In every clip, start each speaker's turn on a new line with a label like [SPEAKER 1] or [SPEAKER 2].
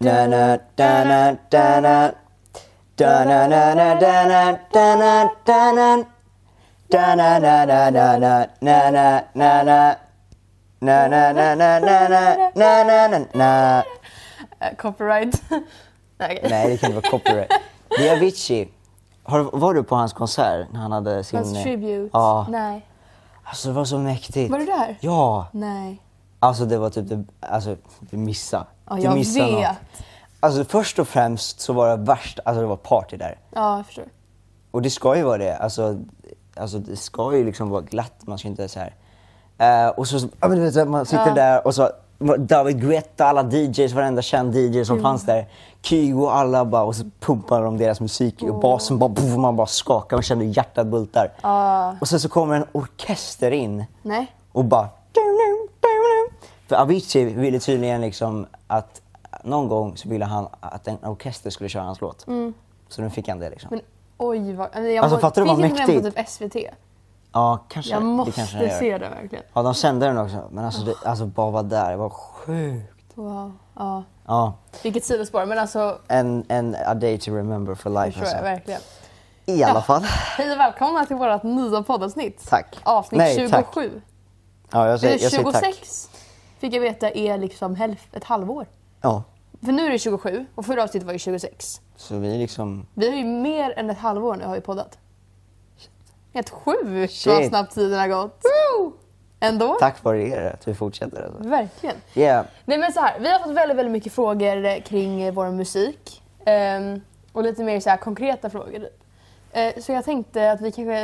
[SPEAKER 1] Da-na, da-na, da-na. Da-na-na-na, da-na, da-na, da-na. Da-na-na-na-na-na, na-na, na-na. Na-na-na-na-na-na, na-na-na-na.
[SPEAKER 2] Eh, Copyright. Nej, okej.
[SPEAKER 1] Nej, det kan inte vara copyright. Det är Avicii. Har, var du på hans konsert när han hade sin...
[SPEAKER 2] Hans tribute.
[SPEAKER 1] Ja.
[SPEAKER 2] Nej.
[SPEAKER 1] Alltså det var så mäktigt.
[SPEAKER 2] Var du där?
[SPEAKER 1] Ja.
[SPEAKER 2] Nej.
[SPEAKER 1] Alltså det var typ det, alltså du missade.
[SPEAKER 2] Ja,
[SPEAKER 1] du
[SPEAKER 2] jag
[SPEAKER 1] missade
[SPEAKER 2] vet.
[SPEAKER 1] något. Alltså först och främst så var det värst, alltså det var party där.
[SPEAKER 2] Ja, jag förstår.
[SPEAKER 1] Och det ska ju vara det. Alltså, alltså det ska ju liksom vara glatt, man ska inte så här. Eh, och så, ja, men du vet, så här, man sitter
[SPEAKER 2] Ja.
[SPEAKER 1] där och så David Guetta, alla DJs, varenda känd DJ som fanns där. Kygo och alla bara, och så pumpar de deras musik och basen bara, boom, man bara skakar, man känner hur hjärtat bultar. Och sen så kommer en orkester in
[SPEAKER 2] Nej.
[SPEAKER 1] och bara... För Avicii ville tydligen liksom att någon gång så ville han att en orkester skulle köra hans låt. Så nu fick han det liksom.
[SPEAKER 2] Men oj vad... eller Jag
[SPEAKER 1] Alltså,
[SPEAKER 2] må-
[SPEAKER 1] fattar du
[SPEAKER 2] Finns
[SPEAKER 1] vad
[SPEAKER 2] inte den på
[SPEAKER 1] mäktigt?
[SPEAKER 2] typ SVT?
[SPEAKER 1] Ja, kanske.
[SPEAKER 2] Jag
[SPEAKER 1] det kanske
[SPEAKER 2] måste
[SPEAKER 1] han gör.
[SPEAKER 2] se Ah. den verkligen.
[SPEAKER 1] Ja, de sände den också. Men alltså, det, alltså bara vara där, det var sjukt.
[SPEAKER 2] Wow. Ja.
[SPEAKER 1] Ja,
[SPEAKER 2] Vilket sidospår, men alltså...
[SPEAKER 1] en, en a day to remember for life
[SPEAKER 2] Förstår jag
[SPEAKER 1] alltså.
[SPEAKER 2] verkligen.
[SPEAKER 1] I alla fall.
[SPEAKER 2] Hej och välkomna till vårt nya poddavsnitt.
[SPEAKER 1] Tack.
[SPEAKER 2] Avsnitt
[SPEAKER 1] Nej,
[SPEAKER 2] 27.
[SPEAKER 1] tack. Ja, jag säger,
[SPEAKER 2] Eller
[SPEAKER 1] jag säger tack.
[SPEAKER 2] 26 fick jag veta är liksom hälf- ett halvår.
[SPEAKER 1] Ja,
[SPEAKER 2] För nu är det 27 och förra avsnittet var ju 26.
[SPEAKER 1] så vi liksom...
[SPEAKER 2] Vi har ju mer än ett halvår nu har vi poddat. Helt sjukt vad
[SPEAKER 1] Shit.
[SPEAKER 2] snabbt tiden har gått. Ändå.
[SPEAKER 1] Tack vare er att vi fortsätter alltså.
[SPEAKER 2] Verkligen.
[SPEAKER 1] Yeah.
[SPEAKER 2] Nej men så här, vi har fått väldigt, väldigt mycket frågor eh, kring eh, vår musik. Ehm, och lite mer så här konkreta frågor typ. Eh, så jag tänkte att vi kanske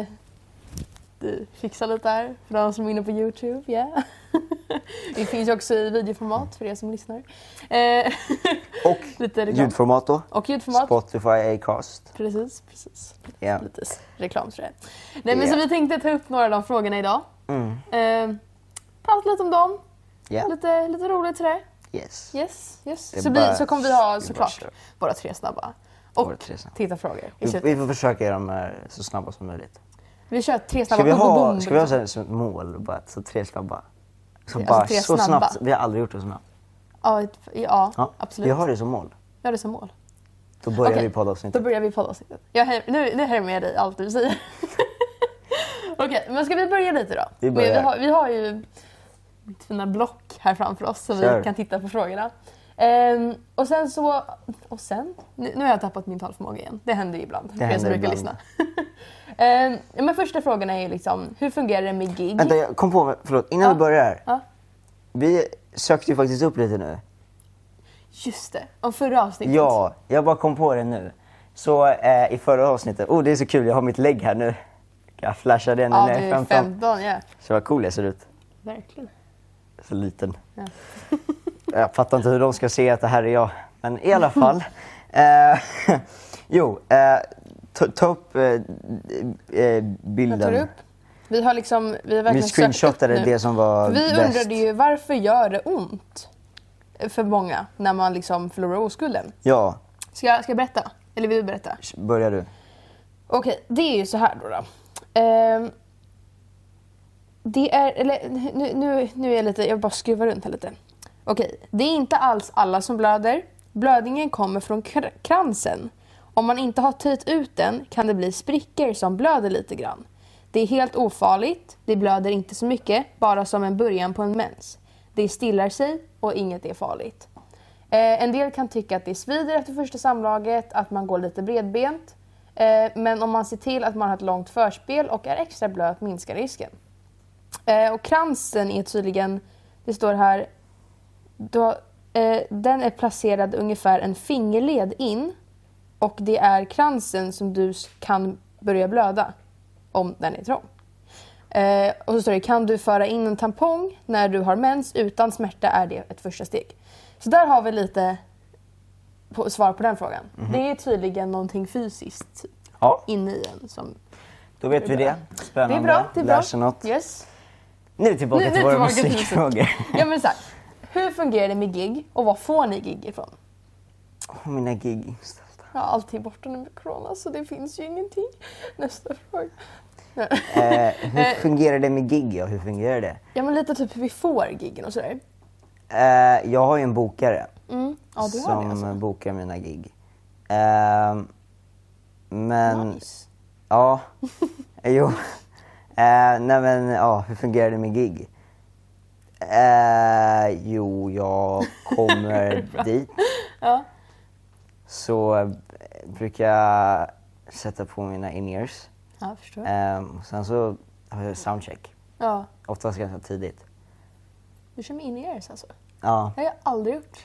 [SPEAKER 2] eh, fixar lite här för de som är inne på Youtube. Yeah. vi finns ju också i videoformat för er som lyssnar. Eh,
[SPEAKER 1] Och
[SPEAKER 2] lite reklam.
[SPEAKER 1] ljudformat då.
[SPEAKER 2] och ljudformat.
[SPEAKER 1] Spotify, Acast.
[SPEAKER 2] Precis, precis.
[SPEAKER 1] Yeah.
[SPEAKER 2] Lite s- reklam tror jag. Nej men
[SPEAKER 1] Ja.
[SPEAKER 2] så vi tänkte ta upp några av de frågorna idag.
[SPEAKER 1] Mm.
[SPEAKER 2] Ehm, prata lite om dem.
[SPEAKER 1] Yeah.
[SPEAKER 2] Lite, lite roligt sådär.
[SPEAKER 1] Yes.
[SPEAKER 2] Yes, yes.
[SPEAKER 1] Det är
[SPEAKER 2] Så,
[SPEAKER 1] bara-
[SPEAKER 2] vi, så kommer vi ha
[SPEAKER 1] det är
[SPEAKER 2] såklart
[SPEAKER 1] bara att
[SPEAKER 2] våra tre snabba. Och
[SPEAKER 1] Våra tre snabba.
[SPEAKER 2] tittarfrågor. Vi
[SPEAKER 1] Vi,
[SPEAKER 2] kör,
[SPEAKER 1] vi får försöka göra dem här så snabba som möjligt.
[SPEAKER 2] vi kör tre snabba.
[SPEAKER 1] Ska vi
[SPEAKER 2] bom, bom,
[SPEAKER 1] ha,
[SPEAKER 2] bom,
[SPEAKER 1] ska vi ha så
[SPEAKER 2] liksom.
[SPEAKER 1] här, som ett mål? Bara, så tre snabba. Så,
[SPEAKER 2] Alltså,
[SPEAKER 1] bara,
[SPEAKER 2] tre
[SPEAKER 1] så
[SPEAKER 2] snabba.
[SPEAKER 1] snabbt. Vi har aldrig gjort det så snabbt.
[SPEAKER 2] ja, ett, ja,
[SPEAKER 1] Ja,
[SPEAKER 2] absolut.
[SPEAKER 1] Vi har det som mål.
[SPEAKER 2] Jag har det som mål.
[SPEAKER 1] Då börjar
[SPEAKER 2] Okej,
[SPEAKER 1] vi
[SPEAKER 2] Då
[SPEAKER 1] poddavsnittet.
[SPEAKER 2] börjar vi poddavsnittet. Jag här, nu, nu härmar jag dig allt du säger. Okej, men ska vi börja lite då?
[SPEAKER 1] Vi börjar.
[SPEAKER 2] Men Vi, har, vi har ju mitt fina block här framför oss så
[SPEAKER 1] Kör.
[SPEAKER 2] vi kan titta på frågorna. Ehm, och sen så... Och sen? Nu, nu har jag tappat min talförmåga igen. Det händer ju ibland. för er som
[SPEAKER 1] händer
[SPEAKER 2] brukar
[SPEAKER 1] ibland.
[SPEAKER 2] lyssna. Ehm, men första frågan är ju liksom, hur fungerar det med gig?
[SPEAKER 1] Vänta, jag kom på, förlåt, innan
[SPEAKER 2] Ja.
[SPEAKER 1] vi börjar.
[SPEAKER 2] Ja.
[SPEAKER 1] Vi sökte ju faktiskt upp lite nu.
[SPEAKER 2] Just det, om förra avsnittet.
[SPEAKER 1] Ja, jag bara kom på det nu. Så eh, i förra avsnittet, oh det är så kul, jag har mitt lägg här nu. Jag flashar det nu
[SPEAKER 2] Ja,
[SPEAKER 1] när
[SPEAKER 2] det
[SPEAKER 1] jag är
[SPEAKER 2] är
[SPEAKER 1] 15.
[SPEAKER 2] 15. Ja,
[SPEAKER 1] Så vad cool jag ser ut.
[SPEAKER 2] verkligen.
[SPEAKER 1] Så liten.
[SPEAKER 2] Ja.
[SPEAKER 1] Jag fattar inte hur de ska se att det här är jag. Men i alla fall. Eh, jo, eh, ta, ta upp eh, eh, bilden.
[SPEAKER 2] Jag tar upp. Vi har liksom, vi
[SPEAKER 1] Vi
[SPEAKER 2] har verkligen sökt upp
[SPEAKER 1] screenshotade
[SPEAKER 2] nu.
[SPEAKER 1] det som var
[SPEAKER 2] Vi
[SPEAKER 1] bäst.
[SPEAKER 2] undrade ju varför gör det ont för många när man liksom förlorar oskulden?
[SPEAKER 1] Ja,
[SPEAKER 2] Ska jag, ska jag berätta? Eller vill du berätta?
[SPEAKER 1] börjar du.
[SPEAKER 2] Okej, det är ju så här då. då. Ehm, det är, eller nu, nu, nu är jag lite, jag vill bara skruva runt här lite. Okej, det är inte alls alla som blöder. Blödningen kommer från kr- kransen. Om man inte har töjt ut den kan det bli sprickor som blöder lite grann. Det är helt ofarligt, det blöder inte så mycket, bara som en början på en mens. Det stillar sig och inget är farligt. Eh, en del kan tycka att det svider efter första samlaget, att man går lite bredbent. Eh, men om man ser till att man har ett långt förspel och är extra blöt minskar risken. Eh, och kransen är tydligen, det står här, då, eh, den är placerad ungefär en fingerled in och det är kransen som du s- kan börja blöda om den är trång. Eh, och så står det, kan du föra in en tampong när du har mens utan smärta är det ett första steg. Så där har vi lite på, svar på den frågan.
[SPEAKER 1] Mhm.
[SPEAKER 2] Det är tydligen någonting fysiskt
[SPEAKER 1] Ja,
[SPEAKER 2] inne i en som...
[SPEAKER 1] då vet vi det.
[SPEAKER 2] Det
[SPEAKER 1] Spännande.
[SPEAKER 2] är bra, det är bra.
[SPEAKER 1] Lär sig något.
[SPEAKER 2] Yes.
[SPEAKER 1] Nu tillbaka
[SPEAKER 2] Nu- nu
[SPEAKER 1] till våra
[SPEAKER 2] tillbaka till musik.
[SPEAKER 1] musikfrågor.
[SPEAKER 2] Ja men så här, hur fungerar det med gig och var får ni gig ifrån?
[SPEAKER 1] Åh, mina gig inställda.
[SPEAKER 2] Ja, allt är borta nu med corona så det finns ju ingenting. Nästa fråga.
[SPEAKER 1] Eh, hur
[SPEAKER 2] Eh.
[SPEAKER 1] fungerar det med gig? Ja, hur fungerar det?
[SPEAKER 2] Ja men lite typ hur vi får giggen och sådär.
[SPEAKER 1] Eh, jag har ju en bokare
[SPEAKER 2] Mm. Ja, du har
[SPEAKER 1] som
[SPEAKER 2] det alltså.
[SPEAKER 1] bokar mina gig. Ehm, men,
[SPEAKER 2] Nice.
[SPEAKER 1] ja, jo. Eh, nej men, ja, hur fungerar det med gig? Eh, jo, jag kommer dit.
[SPEAKER 2] Ja.
[SPEAKER 1] Så eh, brukar jag sätta på mina in-ears.
[SPEAKER 2] Ja, jag förstår.
[SPEAKER 1] Ehm, och sen så har jag soundcheck.
[SPEAKER 2] Ja.
[SPEAKER 1] Oftast ganska tidigt.
[SPEAKER 2] Du kör med in-ears alltså?
[SPEAKER 1] Ja,
[SPEAKER 2] Det har jag aldrig gjort.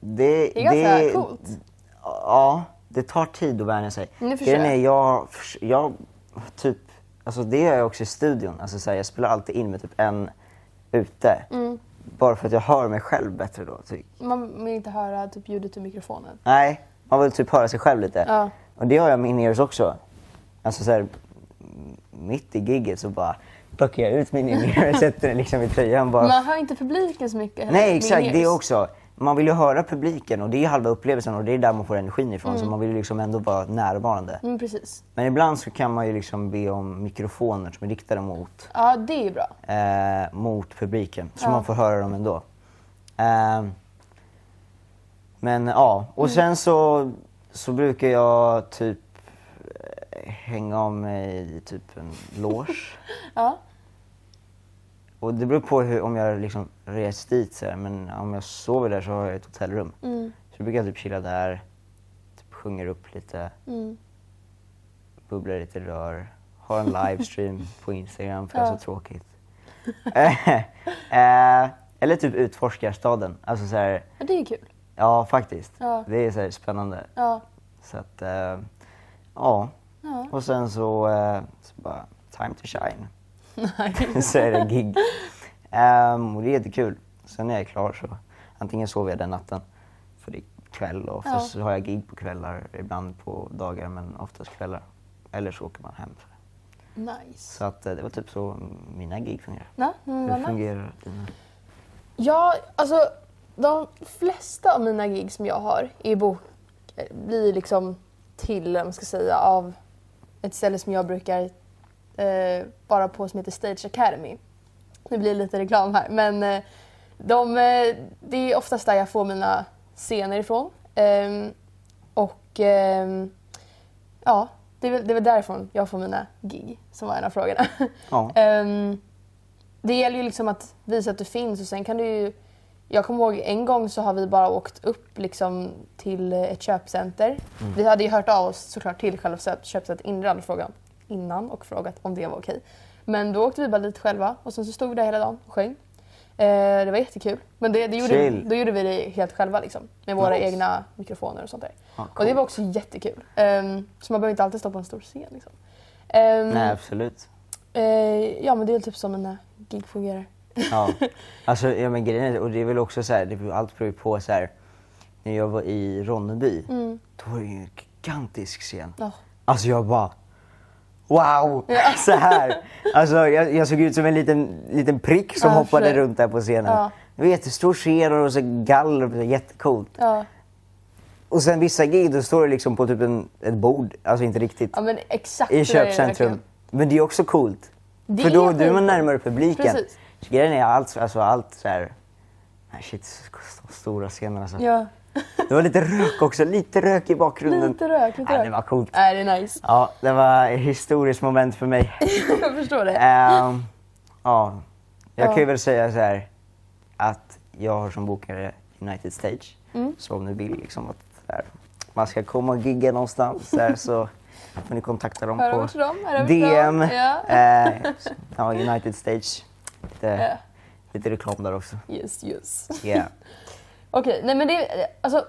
[SPEAKER 1] det,
[SPEAKER 2] Det är ganska coolt.
[SPEAKER 1] Ja, det tar tid att vänja sig.
[SPEAKER 2] Nu förstår
[SPEAKER 1] Grejen är,
[SPEAKER 2] jag.
[SPEAKER 1] jag, förs- jag typ, alltså det gör jag också i studion. Alltså så här, jag spelar alltid in med typ en ute.
[SPEAKER 2] Mm.
[SPEAKER 1] Bara för att jag hör mig själv bättre då. Typ.
[SPEAKER 2] Man vill inte höra typ, ljudet ur mikrofonen.
[SPEAKER 1] Nej, man vill typ höra sig själv lite.
[SPEAKER 2] Ja.
[SPEAKER 1] Och det gör jag med in-ears också. Alltså så här, m- mitt i gigget så bara plockar jag ut min in-ear och sätter den liksom i tröjan bara.
[SPEAKER 2] Man hör inte publiken så mycket heller
[SPEAKER 1] Nej
[SPEAKER 2] med
[SPEAKER 1] exakt, det
[SPEAKER 2] in-ears.
[SPEAKER 1] också. Man vill ju höra publiken och det är halva upplevelsen och det är där man får energin ifrån. Så man vill ju liksom ändå vara närvarande.
[SPEAKER 2] Mm, precis.
[SPEAKER 1] Men ibland så kan man ju liksom be om mikrofoner som är riktade mot,
[SPEAKER 2] Ja, det är ju bra.
[SPEAKER 1] eh, mot publiken. Så
[SPEAKER 2] Ja.
[SPEAKER 1] man får höra dem ändå. Ehm, men ja, och sen så, så brukar jag typ eh, hänga om mig i typ en loge.
[SPEAKER 2] Ja.
[SPEAKER 1] Och det beror på hur, om jag liksom rest dit så här, men om jag sover där så har jag ett hotellrum.
[SPEAKER 2] Mm.
[SPEAKER 1] Så brukar jag typ chilla där, typ sjunger upp lite,
[SPEAKER 2] Mm.
[SPEAKER 1] bubblar lite rör, har en livestream på Instagram för jag är så tråkigt. Eh, eh, eller typ utforskar staden. Alltså så här,
[SPEAKER 2] ja, det är kul.
[SPEAKER 1] ja faktiskt.
[SPEAKER 2] Ja.
[SPEAKER 1] Det är så här spännande.
[SPEAKER 2] Ja.
[SPEAKER 1] Så att, eh, ja.
[SPEAKER 2] Ja.
[SPEAKER 1] Och sen så, eh, så bara, time to shine
[SPEAKER 2] Nej.
[SPEAKER 1] så är det gig. Ehm, och det är jättekul. Sen när jag är klar så antingen sover jag den natten, för det är kväll och oftast så
[SPEAKER 2] Ja.
[SPEAKER 1] har jag gig på kvällar, ibland på dagar men oftast kvällar. Eller så åker man hem.
[SPEAKER 2] Nice.
[SPEAKER 1] Så att, eh, det var typ så mina gig fungerar.
[SPEAKER 2] Ja, men Mm, vad
[SPEAKER 1] Hur
[SPEAKER 2] nice.
[SPEAKER 1] fungerar dina?
[SPEAKER 2] Ja, alltså de flesta av mina gig som jag har i bok blir liksom till, om man ska säga, av ett ställe som jag brukar eh, vara på som heter Stage Academy. Nu blir det lite reklam här, men eh, de, eh, det är oftast där jag får mina scener ifrån. Ehm, och ehm, ja, det är, väl, det är väl därifrån jag får mina gig, som var en av frågorna.
[SPEAKER 1] Ja.
[SPEAKER 2] Ehm, det gäller ju liksom att visa att du finns och sen kan du ju... Jag kommer ihåg en gång så har vi bara åkt upp liksom till eh, ett köpcenter.
[SPEAKER 1] Mm.
[SPEAKER 2] Vi hade ju hört av oss såklart till själva köp- köpcentret innan och, frågat, innan och frågat om det var okej. Men då åkte vi bara dit själva och sen så stod vi där hela dagen och sjöng. Eh, det var jättekul. Men det, det gjorde,
[SPEAKER 1] Chill.
[SPEAKER 2] då gjorde vi det helt själva liksom, med våra
[SPEAKER 1] Nice.
[SPEAKER 2] egna mikrofoner och sånt där.
[SPEAKER 1] Ja,
[SPEAKER 2] Och det
[SPEAKER 1] coolt.
[SPEAKER 2] var också jättekul. Ehm, så man behöver inte alltid stå på en stor scen. Liksom. Ehm,
[SPEAKER 1] Nej absolut.
[SPEAKER 2] Eh, ja, men det är väl typ som mina gig fungerar.
[SPEAKER 1] Ja. Alltså, ja, men grejen är, och det är väl också så här, det beror, allt beror ju på så här, när jag var i Ronneby,
[SPEAKER 2] Mm.
[SPEAKER 1] då var det ju en gigantisk scen.
[SPEAKER 2] Ja.
[SPEAKER 1] Alltså jag bara, wow! Så här. Alltså jag, jag såg ut som en liten, liten prick som
[SPEAKER 2] Ja,
[SPEAKER 1] hoppade
[SPEAKER 2] förstår.
[SPEAKER 1] runt där på scenen.
[SPEAKER 2] Ja.
[SPEAKER 1] Det var jättestor scen och så galler, och det var jättecoolt.
[SPEAKER 2] Ja.
[SPEAKER 1] Och sen vissa gig, då står det liksom på typ en, ett bord, alltså inte riktigt,
[SPEAKER 2] ja, men exakt.
[SPEAKER 1] i
[SPEAKER 2] så är det
[SPEAKER 1] köpcentrum.
[SPEAKER 2] verkligen.
[SPEAKER 1] Men det är också coolt.
[SPEAKER 2] Det
[SPEAKER 1] För då
[SPEAKER 2] är
[SPEAKER 1] då är man
[SPEAKER 2] skitcoolt.
[SPEAKER 1] närmare publiken.
[SPEAKER 2] Precis.
[SPEAKER 1] Så Grejen är allt, alltså allt så här, nej, shit, så stora scener alltså.
[SPEAKER 2] Ja.
[SPEAKER 1] Det var lite rök också, lite rök i bakgrunden.
[SPEAKER 2] Lite rök, lite
[SPEAKER 1] Nej,
[SPEAKER 2] rök.
[SPEAKER 1] det var coolt.
[SPEAKER 2] Nej, det är nice.
[SPEAKER 1] Ja, det var ett historiskt moment för mig.
[SPEAKER 2] jag förstår det.
[SPEAKER 1] Ehm, ja. Jag
[SPEAKER 2] Ja.
[SPEAKER 1] kan ju väl säga så här att jag har som bokare United Stage.
[SPEAKER 2] Mm.
[SPEAKER 1] Så om ni vill liksom att så här, man ska komma och gigga någonstans så, här, så får ni kontakta dem
[SPEAKER 2] Hör över
[SPEAKER 1] på
[SPEAKER 2] till dem, hör över till
[SPEAKER 1] DM.
[SPEAKER 2] dem. Ja.
[SPEAKER 1] Eh, så- ja, United Stage. Lite,
[SPEAKER 2] Ja.
[SPEAKER 1] lite reklam där också.
[SPEAKER 2] Yes, yes.
[SPEAKER 1] Yeah.
[SPEAKER 2] Okej, nej men det... Alltså,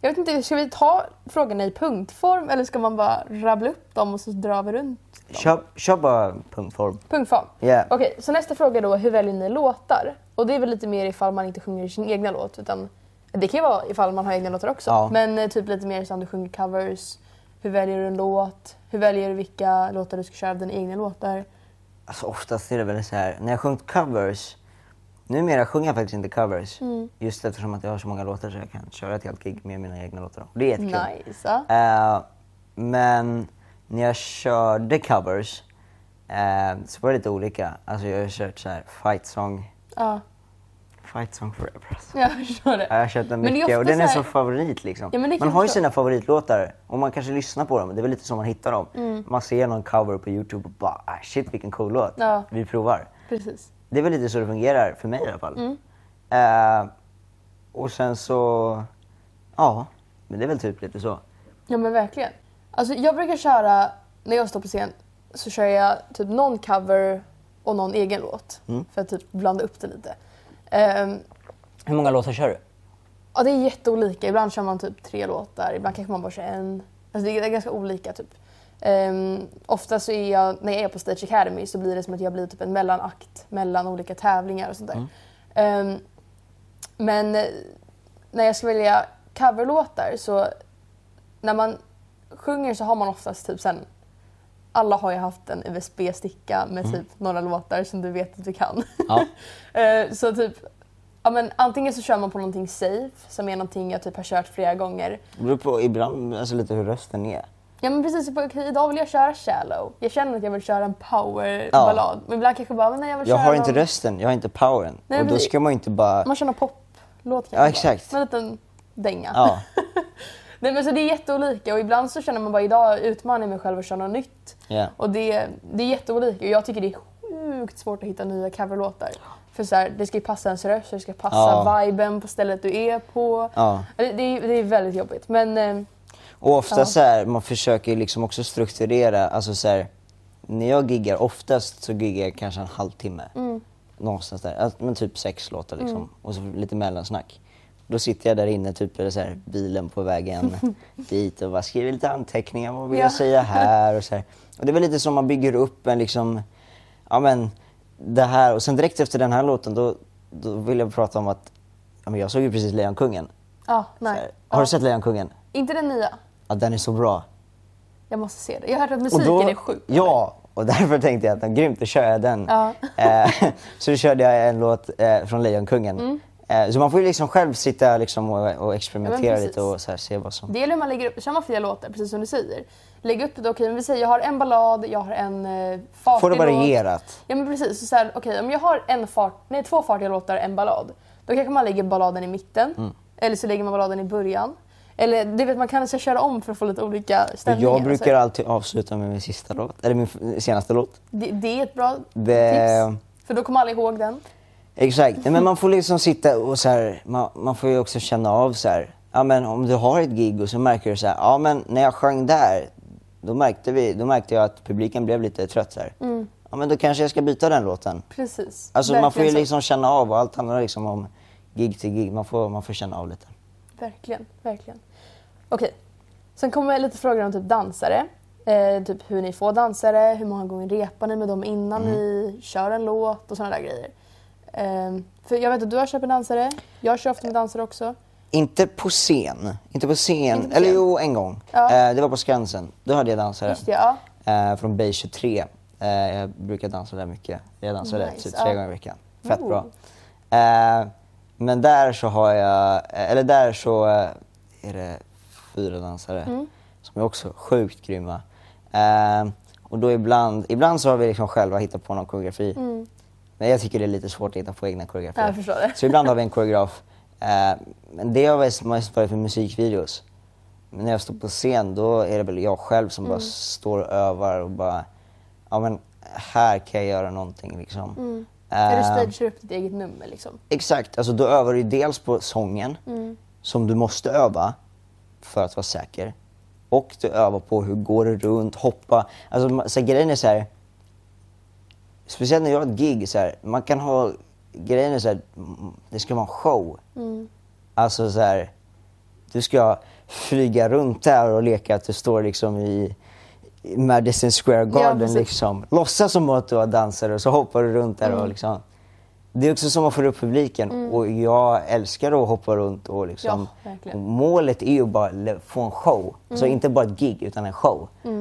[SPEAKER 2] jag vet inte, ska vi ta frågorna i punktform eller ska man bara rabbla upp dem och så drar vi runt?
[SPEAKER 1] Kör, kör bara punktform.
[SPEAKER 2] Punktform.
[SPEAKER 1] Ja.
[SPEAKER 2] Okej, så nästa fråga då, hur väljer ni låtar? Och det är väl lite mer ifall man inte sjunger sin egna låt utan det kan ju vara ifall man har egna låtar också.
[SPEAKER 1] Ja.
[SPEAKER 2] Men eh, typ lite mer som du sjunger covers, hur väljer du en låt, hur väljer du vilka låtar du ska köra av dina egna låtar?
[SPEAKER 1] Alltså oftast är det väl så här, när jag sjungit covers, numera sjunger jag faktiskt inte covers.
[SPEAKER 2] Mm.
[SPEAKER 1] Just eftersom att jag har så många låtar så jag kan köra ett helt gig med mina egna låtar. Och det är jättekul.
[SPEAKER 2] Nice. ja.
[SPEAKER 1] Eh, men när jag körde covers eh, så var det lite olika. Alltså jag har kört så här fight song,
[SPEAKER 2] Ja.
[SPEAKER 1] Fight Song Forever alltså.
[SPEAKER 2] Jag förstår
[SPEAKER 1] Ja, Jag har
[SPEAKER 2] det.
[SPEAKER 1] kört den
[SPEAKER 2] Men det är
[SPEAKER 1] mycket och
[SPEAKER 2] ofta
[SPEAKER 1] den är
[SPEAKER 2] så här-
[SPEAKER 1] som favorit liksom.
[SPEAKER 2] Ja, men det kan
[SPEAKER 1] man har ju
[SPEAKER 2] jag
[SPEAKER 1] sina favoritlåtar och man kanske lyssnar på dem. Det är väl lite så man hittar dem.
[SPEAKER 2] Mm.
[SPEAKER 1] Man ser någon cover på Youtube och bara ah, shit vilken cool låt.
[SPEAKER 2] Ja.
[SPEAKER 1] Vi provar.
[SPEAKER 2] Precis.
[SPEAKER 1] Det är väl lite så det fungerar för mig i alla fall. Eh, och sen så, ja. Men det är väl typ lite så.
[SPEAKER 2] Ja men verkligen. Alltså jag brukar köra, när jag står på scen så kör jag typ någon cover och någon egen låt. För att typ blanda upp det lite. Ehm,
[SPEAKER 1] Hur många låtar kör du?
[SPEAKER 2] ja det är jätteolika, ibland kör man typ tre låtar, ibland kanske man bara kör en. Alltså det är ganska olika typ. Ehm, ofta så är jag, när jag är på Stage Academy så blir det som att jag blir typ en mellanakt mellan olika tävlingar och sånt där. Ehm, men eh, när jag ska välja coverlåtar så när man sjunger så har man oftast typ sen alla har ju haft en USB-sticka med typ några låtar som du vet att du kan.
[SPEAKER 1] Ja.
[SPEAKER 2] Eh, så typ, ja, men antingen så kör man på någonting safe som är någonting jag typ har kört flera gånger.
[SPEAKER 1] Det beror på ibland alltså, lite hur rösten är.
[SPEAKER 2] Ja men precis, typ, okej, idag vill jag köra shallow. Jag känner att jag vill köra en powerballad. Men ibland kanske bara, men nej, jag vill
[SPEAKER 1] Jag
[SPEAKER 2] köra
[SPEAKER 1] har inte
[SPEAKER 2] någon-
[SPEAKER 1] rösten, jag har inte powern.
[SPEAKER 2] Nej,
[SPEAKER 1] och då
[SPEAKER 2] precis.
[SPEAKER 1] ska man ju inte bara...
[SPEAKER 2] Man kör någon poplåt kanske.
[SPEAKER 1] Ja,
[SPEAKER 2] bara.
[SPEAKER 1] exakt.
[SPEAKER 2] Med en liten dänga.
[SPEAKER 1] Ja.
[SPEAKER 2] Nej, men så det är jätteolika och ibland så känner man bara idag utmanar jag mig själv att köra något nytt.
[SPEAKER 1] Ja.
[SPEAKER 2] Och det, det är jätteolika och jag tycker det är sjukt svårt att hitta nya coverlåtar. För så här, det ska ju passa ens röst, det ska passa
[SPEAKER 1] Ja.
[SPEAKER 2] viben på stället du är på.
[SPEAKER 1] Ja.
[SPEAKER 2] Det, det, är- det är väldigt jobbigt. Men eh,
[SPEAKER 1] Och ofta
[SPEAKER 2] Ja.
[SPEAKER 1] så här, man försöker ju liksom också strukturera, alltså så här, när jag giggar, oftast så giggar jag kanske en halvtimme.
[SPEAKER 2] Mm.
[SPEAKER 1] Någonstans där, alltså, men typ sex låtar liksom. Och så lite mellansnack. Då sitter jag där inne typ i så här, bilen på vägen dit och bara skriver lite anteckningar, vad vill
[SPEAKER 2] Ja.
[SPEAKER 1] jag säga här och så här. Och det är väl lite som man bygger upp en liksom, ja men det här och sen direkt efter den här låten då, då vill jag prata om att, ja men jag såg ju precis Lejonkungen.
[SPEAKER 2] ja,
[SPEAKER 1] Så
[SPEAKER 2] nej.
[SPEAKER 1] här, Har
[SPEAKER 2] Ja.
[SPEAKER 1] du sett Lejonkungen?
[SPEAKER 2] Inte den nya.
[SPEAKER 1] Ja den är så bra.
[SPEAKER 2] Jag måste se det. Jag har hört att musiken är sjuk.
[SPEAKER 1] Ja, och därför tänkte jag att den, grymt, då kör jag den.
[SPEAKER 2] Ja.
[SPEAKER 1] Eh, så då körde jag en låt eh, från Lejonkungen.
[SPEAKER 2] Mm.
[SPEAKER 1] Eh, så man får ju liksom själv sitta liksom och, och
[SPEAKER 2] Ja,
[SPEAKER 1] experimentera
[SPEAKER 2] men
[SPEAKER 1] lite och så här, se vad som...
[SPEAKER 2] Det gäller hur man lägger upp, kör man flera låtar precis som du säger. Lägg upp det, okej men vi säger jag har en ballad, jag har en eh, fartig
[SPEAKER 1] Får det
[SPEAKER 2] låt.
[SPEAKER 1] varierat.
[SPEAKER 2] Ja men precis, så så här, okej om jag har en fart, nej, två fartiga låtar en ballad. Då kanske man lägger balladen i mitten,
[SPEAKER 1] Mm.
[SPEAKER 2] eller så lägger man balladen i början. Eller du vet man kan så här, köra om för att få lite olika
[SPEAKER 1] Och
[SPEAKER 2] stämningar.
[SPEAKER 1] jag brukar
[SPEAKER 2] alltså,
[SPEAKER 1] alltid avsluta med min sista låt, eller min f- senaste låt.
[SPEAKER 2] det, det är ett bra
[SPEAKER 1] Det-
[SPEAKER 2] tips. För då kommer alla ihåg den.
[SPEAKER 1] Exakt,
[SPEAKER 2] Mm.
[SPEAKER 1] Nej, men man får liksom sitta och så här, man, man får ju också känna av så här, ja men om du har ett gig och så märker du så här, ja men när jag sjöng där, då märkte, vi, då märkte jag att publiken blev lite trött så här.
[SPEAKER 2] Mm.
[SPEAKER 1] Ja men då kanske jag ska byta den låten.
[SPEAKER 2] Precis.
[SPEAKER 1] Alltså man får ju
[SPEAKER 2] Verkligen så.
[SPEAKER 1] liksom känna av och allt handlar liksom om gig till gig. Man får, man får känna av lite.
[SPEAKER 2] Verkligen, verkligen. Okej. Sen kommer lite frågor om typ dansare. Eh, typ hur ni får dansare, hur många gånger repar ni med dem innan ni kör en låt och sådana där grejer. Eh, för jag vet att du har kört med dansare. Jag kör ofta med dansare också.
[SPEAKER 1] Inte på scen. Inte på scen.
[SPEAKER 2] Inte på
[SPEAKER 1] Eller
[SPEAKER 2] scen.
[SPEAKER 1] jo, en gång.
[SPEAKER 2] Ja.
[SPEAKER 1] Eh, det var på Skansen. Då hade jag dansare.
[SPEAKER 2] Just det, ja.
[SPEAKER 1] eh, från Bay 23. Eh, jag brukar dansa där mycket. Jag dansar där
[SPEAKER 2] Nice,
[SPEAKER 1] typ tre
[SPEAKER 2] ja.
[SPEAKER 1] gånger i veckan. Fett
[SPEAKER 2] Oh.
[SPEAKER 1] bra. Eh, men där så har jag, eh, eller där så eh, är det fyra dansare
[SPEAKER 2] Mm.
[SPEAKER 1] som är också sjukt grymma. Eh, och då ibland, ibland så har vi liksom själva hittat på någon koreografi. Men jag tycker det är lite svårt att hitta på egna koreografier.
[SPEAKER 2] Mm. Jag förstår det.
[SPEAKER 1] Så ibland har vi en koreograf. Eh, men det har mest- mest varit för musikvideos. Men när jag står på scen då är det väl jag själv som bara står och övar och bara, ja men här kan jag göra någonting liksom.
[SPEAKER 2] När du
[SPEAKER 1] Eh,
[SPEAKER 2] stagear upp ditt eget nummer liksom.
[SPEAKER 1] Exakt, alltså då övar du ju dels på sången som du måste öva för att vara säker. Och du övar på hur går det runt, hoppa. Alltså ma- så här, grejen är så här. Speciellt när jag har ett gig så här, man kan ha, grejen är så här, m- det ska vara en show.
[SPEAKER 2] Mm.
[SPEAKER 1] Alltså så här, du ska flyga runt där och leka att du står liksom i i Madison Square Garden
[SPEAKER 2] precis.
[SPEAKER 1] liksom. Låtsas som att du har dansare och så hoppar du runt där
[SPEAKER 2] Mm.
[SPEAKER 1] och liksom. Det är också som att få upp publiken och jag älskar att hoppa runt och liksom.
[SPEAKER 2] Ja, verkligen. Mm.
[SPEAKER 1] och målet är ju bara le- få en show. Så inte bara ett gig utan en show.
[SPEAKER 2] Folk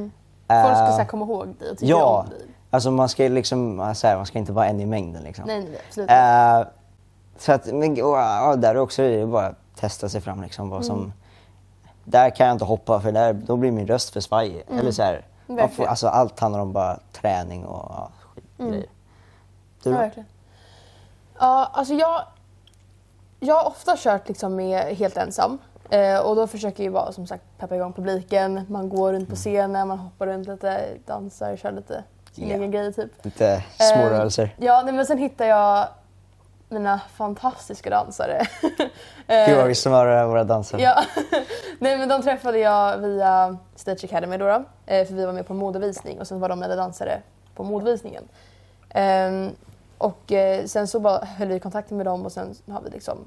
[SPEAKER 2] ska
[SPEAKER 1] Eh,
[SPEAKER 2] så här, komma ihåg dig och tycka
[SPEAKER 1] Ja,
[SPEAKER 2] om dig.
[SPEAKER 1] alltså man ska ju liksom, så här, man ska inte vara en i mängden liksom.
[SPEAKER 2] Nej, nej, absolut
[SPEAKER 1] Eh, så att, men och, ja, där också är det bara att testa sig fram liksom vad
[SPEAKER 2] Mm.
[SPEAKER 1] som... Där kan jag inte hoppa för där, då blir min röst för svajig. Eller så här, man får,
[SPEAKER 2] Mm. Verkligen. Mm.
[SPEAKER 1] alltså allt handlar om bara träning och ja, skitgrejer. Du
[SPEAKER 2] Ja,
[SPEAKER 1] då?
[SPEAKER 2] verkligen. Ja, alltså jag jag har ofta kört liksom med helt ensam. Eh, och då försöker jag ju vara som sagt peppa igång publiken. Man går runt på
[SPEAKER 1] Mm.
[SPEAKER 2] scenen, man hoppar runt lite, dansar, kör lite sin
[SPEAKER 1] Ja.
[SPEAKER 2] egen grej typ.
[SPEAKER 1] Lite
[SPEAKER 2] Eh,
[SPEAKER 1] små rörelser.
[SPEAKER 2] Ja, nej, men sen hittar jag mina fantastiska dansare. Eh,
[SPEAKER 1] Gud vad vi smörar våra danser.
[SPEAKER 2] Ja. Nej men de träffade jag via Stage Academy då, då eh, för vi var med på en modevisning och sen var de mina dansare på modevisningen. Ehm, och eh, sen så bara höll vi kontakten med dem och sen har vi liksom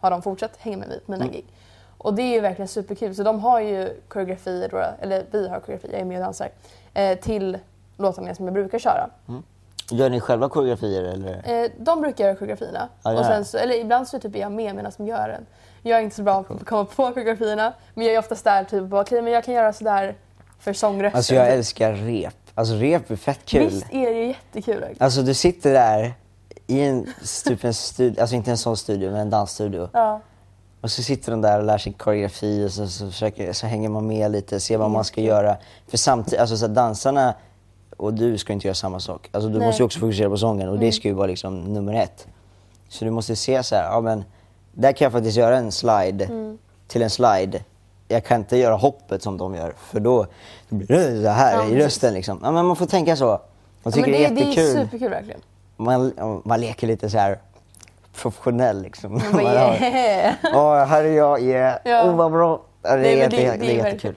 [SPEAKER 2] har de fortsatt hänga med mig på mina gig. Och det är ju verkligen superkul. Så de har ju koreografier, då, eller vi har koreografier, jag är med och dansar, eh, till låtarna som jag brukar köra.
[SPEAKER 1] Gör ni själva koreografier eller?
[SPEAKER 2] Eh, de brukar göra koreografierna.
[SPEAKER 1] Ja, Ah, ja.
[SPEAKER 2] och sen så, eller ibland så typ är jag med medan de gör den. Jag är inte så bra på att komma på koreografierna. Men jag är oftast där typ bara, okej men jag kan göra sådär för sångrösten.
[SPEAKER 1] Alltså jag älskar rep. Alltså rep är fett kul.
[SPEAKER 2] Visst är det ju jättekul? verkligen.
[SPEAKER 1] Alltså du sitter där i en, typ en studio, alltså inte en sån studio men en dansstudio.
[SPEAKER 2] Ja.
[SPEAKER 1] Och så sitter de där och lär sig koreografi och så, så, försöker, så hänger man med lite, ser vad man ska göra. För samtidigt, alltså så här, dansarna och du ska inte göra samma sak. Alltså du
[SPEAKER 2] Nej. Mm.
[SPEAKER 1] måste ju också fokusera på sången och det ska ju vara liksom nummer ett. Så du måste se så här, ja men där kan jag faktiskt göra en slide
[SPEAKER 2] Mm.
[SPEAKER 1] till en slide. Jag kan inte göra hoppet som de gör för då blir det så här
[SPEAKER 2] Ja,
[SPEAKER 1] i
[SPEAKER 2] precis.
[SPEAKER 1] rösten liksom. Ja men man får tänka så. Man
[SPEAKER 2] Ja, men
[SPEAKER 1] tycker
[SPEAKER 2] det,
[SPEAKER 1] det är
[SPEAKER 2] det är
[SPEAKER 1] jättekul.
[SPEAKER 2] superkul verkligen.
[SPEAKER 1] man, man leker lite så här professionell liksom.
[SPEAKER 2] Man
[SPEAKER 1] Man
[SPEAKER 2] bara,
[SPEAKER 1] har-
[SPEAKER 2] yeah.
[SPEAKER 1] Åh, här är jag, yeah.
[SPEAKER 2] Ja.
[SPEAKER 1] Åh, vad bra. Ja, Det är,
[SPEAKER 2] Nej, men
[SPEAKER 1] jätte,
[SPEAKER 2] det-
[SPEAKER 1] det,
[SPEAKER 2] det
[SPEAKER 1] är
[SPEAKER 2] är
[SPEAKER 1] jättekul.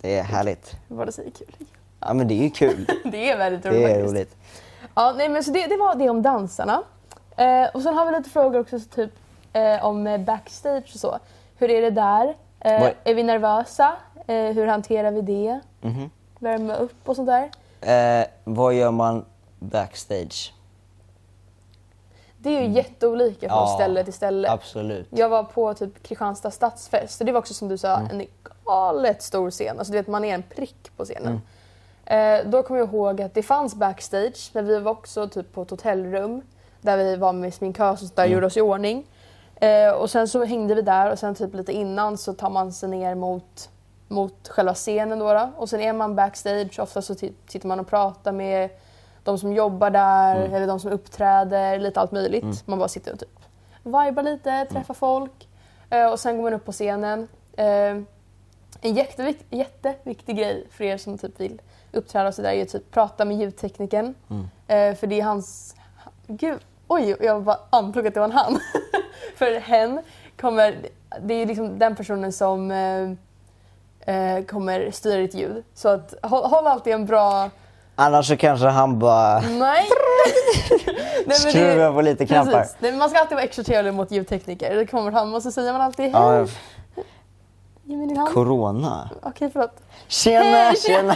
[SPEAKER 1] Det är härligt.
[SPEAKER 2] Vad du säger kul.
[SPEAKER 1] Ja, men det är ju kul.
[SPEAKER 2] Det är väldigt roligt
[SPEAKER 1] Det är
[SPEAKER 2] faktiskt.
[SPEAKER 1] roligt.
[SPEAKER 2] Ja, nej, men så det, det var det om dansarna. Eh, och sen har vi lite frågor också så typ eh, om eh, backstage och så. Hur är det där? Eh,
[SPEAKER 1] Vad-
[SPEAKER 2] är vi nervösa? Eh, hur hanterar vi det? Värma upp och sånt där.
[SPEAKER 1] Mhm. Eh, vad gör man backstage?
[SPEAKER 2] Det är ju jätteolika från
[SPEAKER 1] Ja,
[SPEAKER 2] ställe till ställe.
[SPEAKER 1] Absolut.
[SPEAKER 2] Jag var på typ Kristianstad stadsfest och det var också som du sa en galet stor scen. Alltså du vet man är en prick på scenen. Eh, då kommer jag ihåg att det fanns backstage men vi var också typ på ett hotellrum där vi var med sminkös och så där gjorde oss i ordning. Eh, och sen så hängde vi där och sen typ lite innan så tar man sig ner mot, mot själva scenen då, då. Och sen är man backstage, ofta så ti- sitter man och pratar med de som jobbar där eller de som uppträder, lite allt möjligt. Man bara sitter och typ vibar lite, träffar folk eh, och sen går man upp på scenen. Eh, en jättevik- jätteviktig grej för er som typ vill uppträda och sådär är ju typ prata med ljudteknikern.
[SPEAKER 1] Mm.
[SPEAKER 2] Eh, för det är hans... Gud, oj, jag bara antog att det var en han. för hen kommer... Det är ju liksom den personen som eh, eh, kommer styra ditt ljud. Så att, håll, håll alltid en bra...
[SPEAKER 1] Annars så kanske han bara
[SPEAKER 2] Nej! Nej, men det-
[SPEAKER 1] skruvar på lite knappar.
[SPEAKER 2] Precis. Nej, men man ska alltid vara extra trevlig mot ljudtekniker. Det kommer han och så säger man alltid
[SPEAKER 1] Ja,
[SPEAKER 2] hej.
[SPEAKER 1] men f-
[SPEAKER 2] Ge mig din hand.
[SPEAKER 1] corona.
[SPEAKER 2] Okej, förlåt.
[SPEAKER 1] Tjena,
[SPEAKER 2] Hej,
[SPEAKER 1] tjena.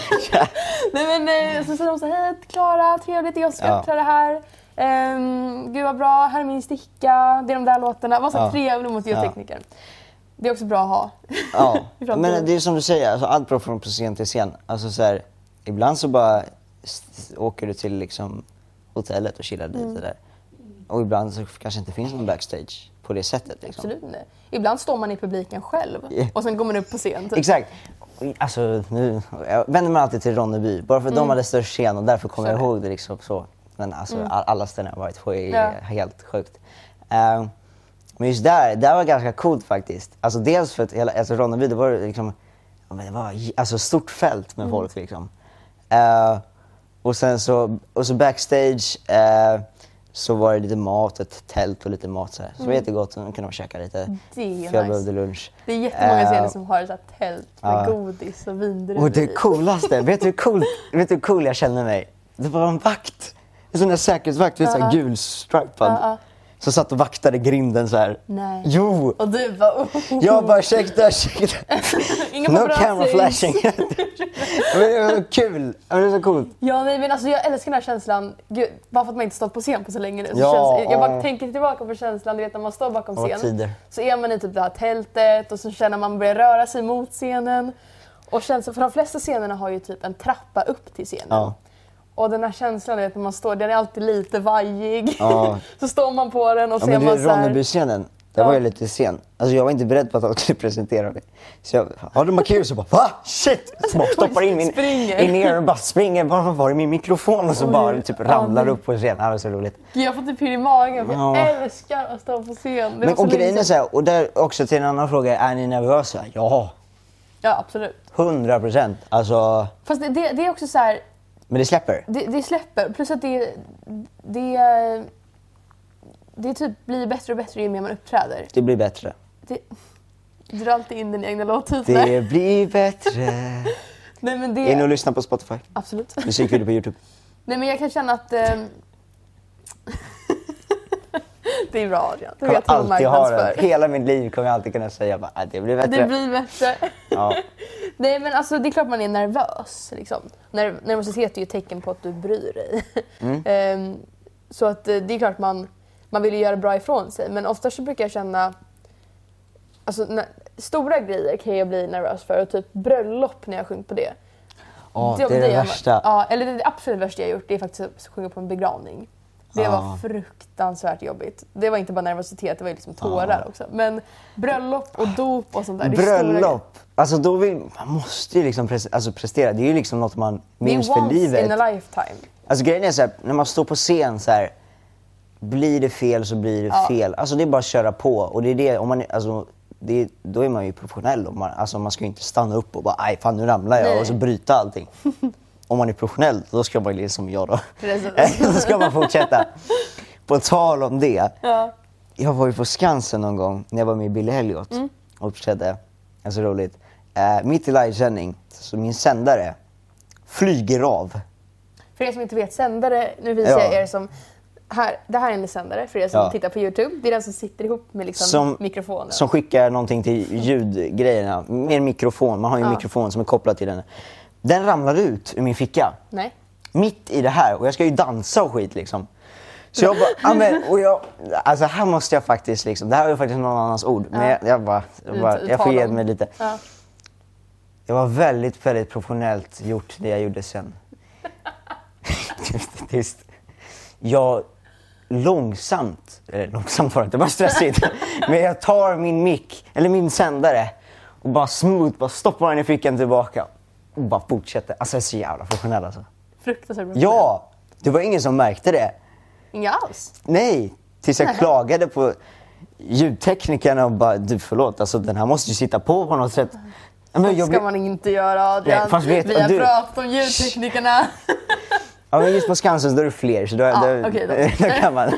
[SPEAKER 2] Nej men eh, så säger de så här, hej Klara, trevligt jag ska
[SPEAKER 1] Ja.
[SPEAKER 2] uppträda här. Um, gud vad bra, här är min sticka. Det är de där låtarna. Var så
[SPEAKER 1] Ja.
[SPEAKER 2] trevlig mot ljudteknikern. Det är också bra att ha.
[SPEAKER 1] Ja,
[SPEAKER 2] I framtiden.
[SPEAKER 1] men det är som du säger, alltså allt beror från scen till scen. Alltså så här, ibland så bara s- åker du till liksom hotellet och chillar
[SPEAKER 2] Mm.
[SPEAKER 1] lite där. Och ibland så kanske inte finns någon backstage på det sättet. Liksom.
[SPEAKER 2] Absolut nej. Ibland står man i publiken själv
[SPEAKER 1] Ja.
[SPEAKER 2] och sen går man upp på scen. Typ.
[SPEAKER 1] Exakt. Alltså, nu jag vänder man alltid till Ronneby, bara för att
[SPEAKER 2] Mm.
[SPEAKER 1] de hade störst scen och därför kommer
[SPEAKER 2] Så
[SPEAKER 1] jag
[SPEAKER 2] är det.
[SPEAKER 1] ihåg det. Liksom, så. Men alltså, all- alla ställen jag varit på är
[SPEAKER 2] Mm. Ja.
[SPEAKER 1] helt sjukt. Ehm, men just där, där var ganska coolt faktiskt. Alltså, dels för att hela, alltså, Ronneby, det var liksom, ja, men det var j- alltså, stort fält
[SPEAKER 2] Mm.
[SPEAKER 1] med folk. Liksom. Eh, och sen så, och så backstage eh, så var det lite mat, ett tält och lite mat. Så, här. så det var jättegott, och då kunde man käka lite.
[SPEAKER 2] Mm. Det är
[SPEAKER 1] för jag
[SPEAKER 2] nice.
[SPEAKER 1] behövde lunch.
[SPEAKER 2] Det är jättemånga scener
[SPEAKER 1] Eh,
[SPEAKER 2] som har ett så här tält med
[SPEAKER 1] ja.
[SPEAKER 2] godis och vindruvor
[SPEAKER 1] och det
[SPEAKER 2] i.
[SPEAKER 1] coolaste, vet du hur cool, vet du hur cool jag kände mig? Det var en vakt. En sån där säkerhetsvakt, uh -huh. gulstripad.
[SPEAKER 2] Ja, ja.
[SPEAKER 1] Som satt och vaktade grinden så här.
[SPEAKER 2] Nej.
[SPEAKER 1] Jo!
[SPEAKER 2] Och du bara oh,
[SPEAKER 1] Jag bara ursäkta, ursäkta.
[SPEAKER 2] inga
[SPEAKER 1] No
[SPEAKER 2] paparazzi.
[SPEAKER 1] camera flashing. Men det var så kul. Ja, Det var så coolt.
[SPEAKER 2] Ja, nej, men alltså, jag älskar den här känslan. Gud, bara för att man inte stått på scen på så länge nu. Så
[SPEAKER 1] Ja,
[SPEAKER 2] känns, jag bara
[SPEAKER 1] ja.
[SPEAKER 2] tänker tillbaka på känslan, du vet när man står bakom
[SPEAKER 1] Ja,
[SPEAKER 2] scen.
[SPEAKER 1] tider.
[SPEAKER 2] Så är man i typ det här tältet och så känner man börjar röra sig mot scenen. Och känslan, för de flesta scenerna har ju typ en trappa upp till scenen.
[SPEAKER 1] Ja.
[SPEAKER 2] Och den här känslan, du vet, när man står, den är alltid lite vajig.
[SPEAKER 1] Ja.
[SPEAKER 2] så står man på den och
[SPEAKER 1] Ja,
[SPEAKER 2] ser
[SPEAKER 1] men du,
[SPEAKER 2] man så här,
[SPEAKER 1] Ronnebyscenen. Det var ju lite sen. Alltså jag var inte beredd på att de skulle presentera mig. Så jag, har du markerat? Så bara, va? Shit! Så bara stoppar in min
[SPEAKER 2] Alltså, Springer.
[SPEAKER 1] in ear och bara springer. Bara, Var är min mikrofon? Och så
[SPEAKER 2] Oj.
[SPEAKER 1] bara typ
[SPEAKER 2] Ja,
[SPEAKER 1] ramlar
[SPEAKER 2] men-
[SPEAKER 1] upp på scenen. Det var så roligt.
[SPEAKER 2] Gud, jag får typ pirr i magen för jag
[SPEAKER 1] Ja.
[SPEAKER 2] älskar att stå på scen. Det var
[SPEAKER 1] Men,
[SPEAKER 2] så
[SPEAKER 1] och
[SPEAKER 2] länge
[SPEAKER 1] grejen är
[SPEAKER 2] sedan.
[SPEAKER 1] så här, och där också till en annan fråga. Är ni nervösa? Ja,
[SPEAKER 2] Ja, absolut.
[SPEAKER 1] hundra procent. Alltså,
[SPEAKER 2] Fast det, det, det är också så här,
[SPEAKER 1] men det släpper.
[SPEAKER 2] det, det släpper. Plus att det, det, det typ blir bättre och bättre ju mer man uppträder.
[SPEAKER 1] Det blir bättre.
[SPEAKER 2] Det, dra alltid in din egna låttitlar.
[SPEAKER 1] Det blir bättre.
[SPEAKER 2] Nej, men
[SPEAKER 1] In och
[SPEAKER 2] det,
[SPEAKER 1] lyssna på Spotify.
[SPEAKER 2] absolut.
[SPEAKER 1] Musikvideo på Youtube.
[SPEAKER 2] Nej, men jag kan känna att... ehm, det är radion. Du
[SPEAKER 1] Kommer
[SPEAKER 2] vet hur man
[SPEAKER 1] alltid ha den.
[SPEAKER 2] marknadsför.
[SPEAKER 1] Hela mitt liv kommer jag alltid kunna säga bara, "Ah, det blir bättre.
[SPEAKER 2] Det blir bättre.
[SPEAKER 1] Ja.
[SPEAKER 2] Nej men alltså det är klart man är nervös. Liksom. Ner- nervositet är ju ett tecken på att du bryr dig.
[SPEAKER 1] Mm.
[SPEAKER 2] Ehm, så att eh, det är klart man, man vill ju göra bra ifrån sig men oftast så brukar jag känna Alltså, när, stora grejer kan jag bli nervös för och typ bröllop när jag sjungit på det.
[SPEAKER 1] Åh, det är det
[SPEAKER 2] jag-
[SPEAKER 1] värsta.
[SPEAKER 2] Ja, eller det absolut värsta jag gjort det är faktiskt att sjunga på en begravning. Det var
[SPEAKER 1] Ja.
[SPEAKER 2] fruktansvärt jobbigt. Det var inte bara nervositet, det var ju liksom tårar också. Men bröllop och dop och sånt där. det är stora grejer.
[SPEAKER 1] Bröllop! Alltså då vill, man måste ju liksom pres- alltså prestera. Det är ju liksom något man
[SPEAKER 2] Det är
[SPEAKER 1] minns för
[SPEAKER 2] once
[SPEAKER 1] livet.
[SPEAKER 2] in a lifetime.
[SPEAKER 1] Alltså grejen är så här, när man står på scen så här. Blir det fel så blir det
[SPEAKER 2] Ja.
[SPEAKER 1] fel. Alltså det är bara att köra på. Och det är det, om man, är- alltså, det, är- då är man ju professionell. Om man, alltså man ska ju inte stanna upp och bara aj fan nu ramlar jag
[SPEAKER 2] Nej.
[SPEAKER 1] och så bryta allting. om man är professionell då ska man ju som jag då.
[SPEAKER 2] Precis.
[SPEAKER 1] då ska man fortsätta. På tal om det.
[SPEAKER 2] Ja.
[SPEAKER 1] Jag var ju på Skansen någon gång när jag var med Billy Elliot
[SPEAKER 2] Mm.
[SPEAKER 1] och uppträdde. Alltså roligt. Eh, mitt i livesändning, så min sändare flyger av.
[SPEAKER 2] För er som inte vet, sändare, nu visar jag
[SPEAKER 1] Ja.
[SPEAKER 2] er som... Här, det här är en sändare för er som
[SPEAKER 1] Ja.
[SPEAKER 2] tittar på Youtube. Det är den som sitter ihop med liksom mikrofonen.
[SPEAKER 1] Som skickar någonting till ljudgrejerna. Med en mikrofon, man har ju en
[SPEAKER 2] Ja.
[SPEAKER 1] mikrofon som är kopplad till den. Den ramlar ut ur min ficka.
[SPEAKER 2] Nej.
[SPEAKER 1] Mitt i det här och jag ska ju dansa och skit liksom. Så jag bara, ja, men, och jag, alltså här måste jag faktiskt liksom, det här är ju faktiskt någon annans ord. Men jag, jag bara, jag, bara, jag får ge mig lite.
[SPEAKER 2] Ja.
[SPEAKER 1] Det var väldigt, väldigt professionellt gjort det jag gjorde sen. Tyst, Tyst. Jag långsamt, eller långsamt var det inte, det var stressigt. Men jag tar min mick, eller min sändare och bara smooth, bara stoppar den i fickan tillbaka och bara fortsätter. Alltså jag är så jävla professionell alltså.
[SPEAKER 2] Fruktansvärt bra.
[SPEAKER 1] Ja! Det var ingen som märkte det.
[SPEAKER 2] Inga alls.
[SPEAKER 1] Nej! Tills jag klagade på ljudteknikerna och bara, du förlåt, alltså den här måste ju sitta på på något sätt. Men jag
[SPEAKER 2] ska
[SPEAKER 1] blev-
[SPEAKER 2] man inte göra Adrian.
[SPEAKER 1] Nej, fast vet
[SPEAKER 2] Vi har
[SPEAKER 1] du-
[SPEAKER 2] pratat om ljudteknikerna.
[SPEAKER 1] Ja men just på Skansen så då är det fler så då,
[SPEAKER 2] Ah,
[SPEAKER 1] då,
[SPEAKER 2] okej då.
[SPEAKER 1] då kan man.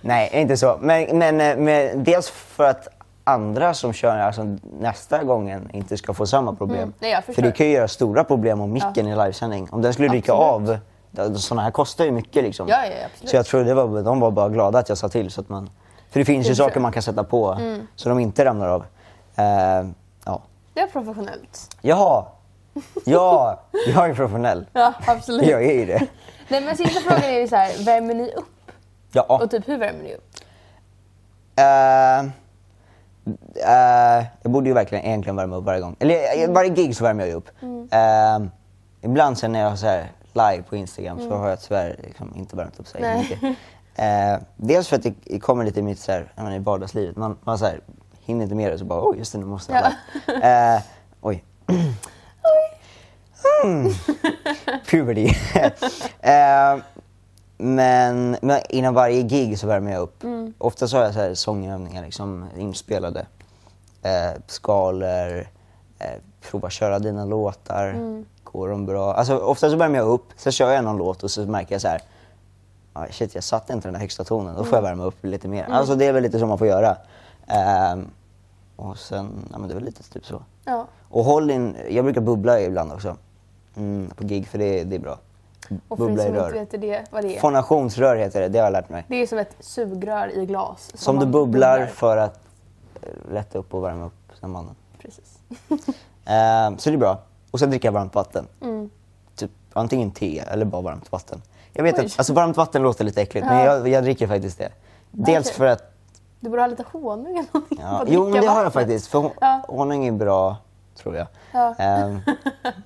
[SPEAKER 1] Nej, inte så. Men, men, eh, men dels för att andra som kör alltså, nästa gången inte ska få samma problem.
[SPEAKER 2] Mm, nej, jag
[SPEAKER 1] för
[SPEAKER 2] förstår.
[SPEAKER 1] det kan ju göra stora problem om micken i livesändning. Om den skulle rycka
[SPEAKER 2] Absolut.
[SPEAKER 1] av, sådana här kostar ju mycket liksom.
[SPEAKER 2] Ja, ja, absolut.
[SPEAKER 1] Så jag tror det var, de var bara glada att jag sa till. Så att man, för det finns
[SPEAKER 2] Det
[SPEAKER 1] ju
[SPEAKER 2] tror
[SPEAKER 1] saker
[SPEAKER 2] jag. Mm.
[SPEAKER 1] man kan sätta på så de inte ramlar av. Eh, ja.
[SPEAKER 2] Det är professionellt.
[SPEAKER 1] Jaha! Ja, jag är professionell.
[SPEAKER 2] Ja, absolut.
[SPEAKER 1] Jag är ju det.
[SPEAKER 2] Nej, men sista frågan är ju så här, värmer ni upp?
[SPEAKER 1] Ja.
[SPEAKER 2] Och typ hur värmer ni upp?
[SPEAKER 1] Eh, eh, jag borde ju verkligen egentligen värma upp varje gång. Eller eh,
[SPEAKER 2] Mm.
[SPEAKER 1] varje gig så värmer jag ju upp. Eh, ibland sen när jag har så här live på Instagram så har jag tyvärr liksom inte värmt upp så här
[SPEAKER 2] Mm. Nej.
[SPEAKER 1] mycket. Eh, dels för att det det kommer lite i mitt så här, jag menar, i vardagslivet. Man, man så här, hinner inte med det så bara oj just det nu måste jag
[SPEAKER 2] Ja.
[SPEAKER 1] live. Eh, oj. Mm. Puberty. Eh, men, men innan varje gig så värmer jag upp. Ofta så har jag så här sångövningar liksom, inspelade. Eh, skalor, eh, prova köra dina låtar. Går de bra? Alltså, ofta så värmer jag upp, så kör jag någon låt och så märker jag så här. "Aj, shit, jag satte inte den här högsta tonen. Då får jag värma upp lite mer. Alltså, det är väl lite så man får göra. Ehm, och sen, ja, men det är väl lite typ så.
[SPEAKER 2] Ja.
[SPEAKER 1] Och håll in, jag brukar bubbla ibland också. Mm, på gig, för det, det är bra.
[SPEAKER 2] Och för er som inte vet det, vad det är.
[SPEAKER 1] Fonationsrör heter det, det har jag lärt mig.
[SPEAKER 2] Det är som ett sugrör i glas. som
[SPEAKER 1] Som du
[SPEAKER 2] man
[SPEAKER 1] bubblar för att eh, lätta upp och värma upp sen mannen.
[SPEAKER 2] Precis.
[SPEAKER 1] Eh, så det är bra. Och sen dricka varmt vatten.
[SPEAKER 2] Mm.
[SPEAKER 1] Typ antingen te eller bara varmt vatten. Jag vet
[SPEAKER 2] Oj.
[SPEAKER 1] att alltså, varmt vatten låter lite äckligt men
[SPEAKER 2] Ja.
[SPEAKER 1] jag, jag dricker faktiskt det. Dels
[SPEAKER 2] Okej.
[SPEAKER 1] för att...
[SPEAKER 2] Du borde ha lite honung eller någonting.
[SPEAKER 1] Ja,
[SPEAKER 2] Bara
[SPEAKER 1] jo men
[SPEAKER 2] dricka
[SPEAKER 1] det har jag
[SPEAKER 2] vattnet.
[SPEAKER 1] faktiskt. För hon-
[SPEAKER 2] Ja.
[SPEAKER 1] honung är bra. tror jag.
[SPEAKER 2] Ja.
[SPEAKER 1] Ehm,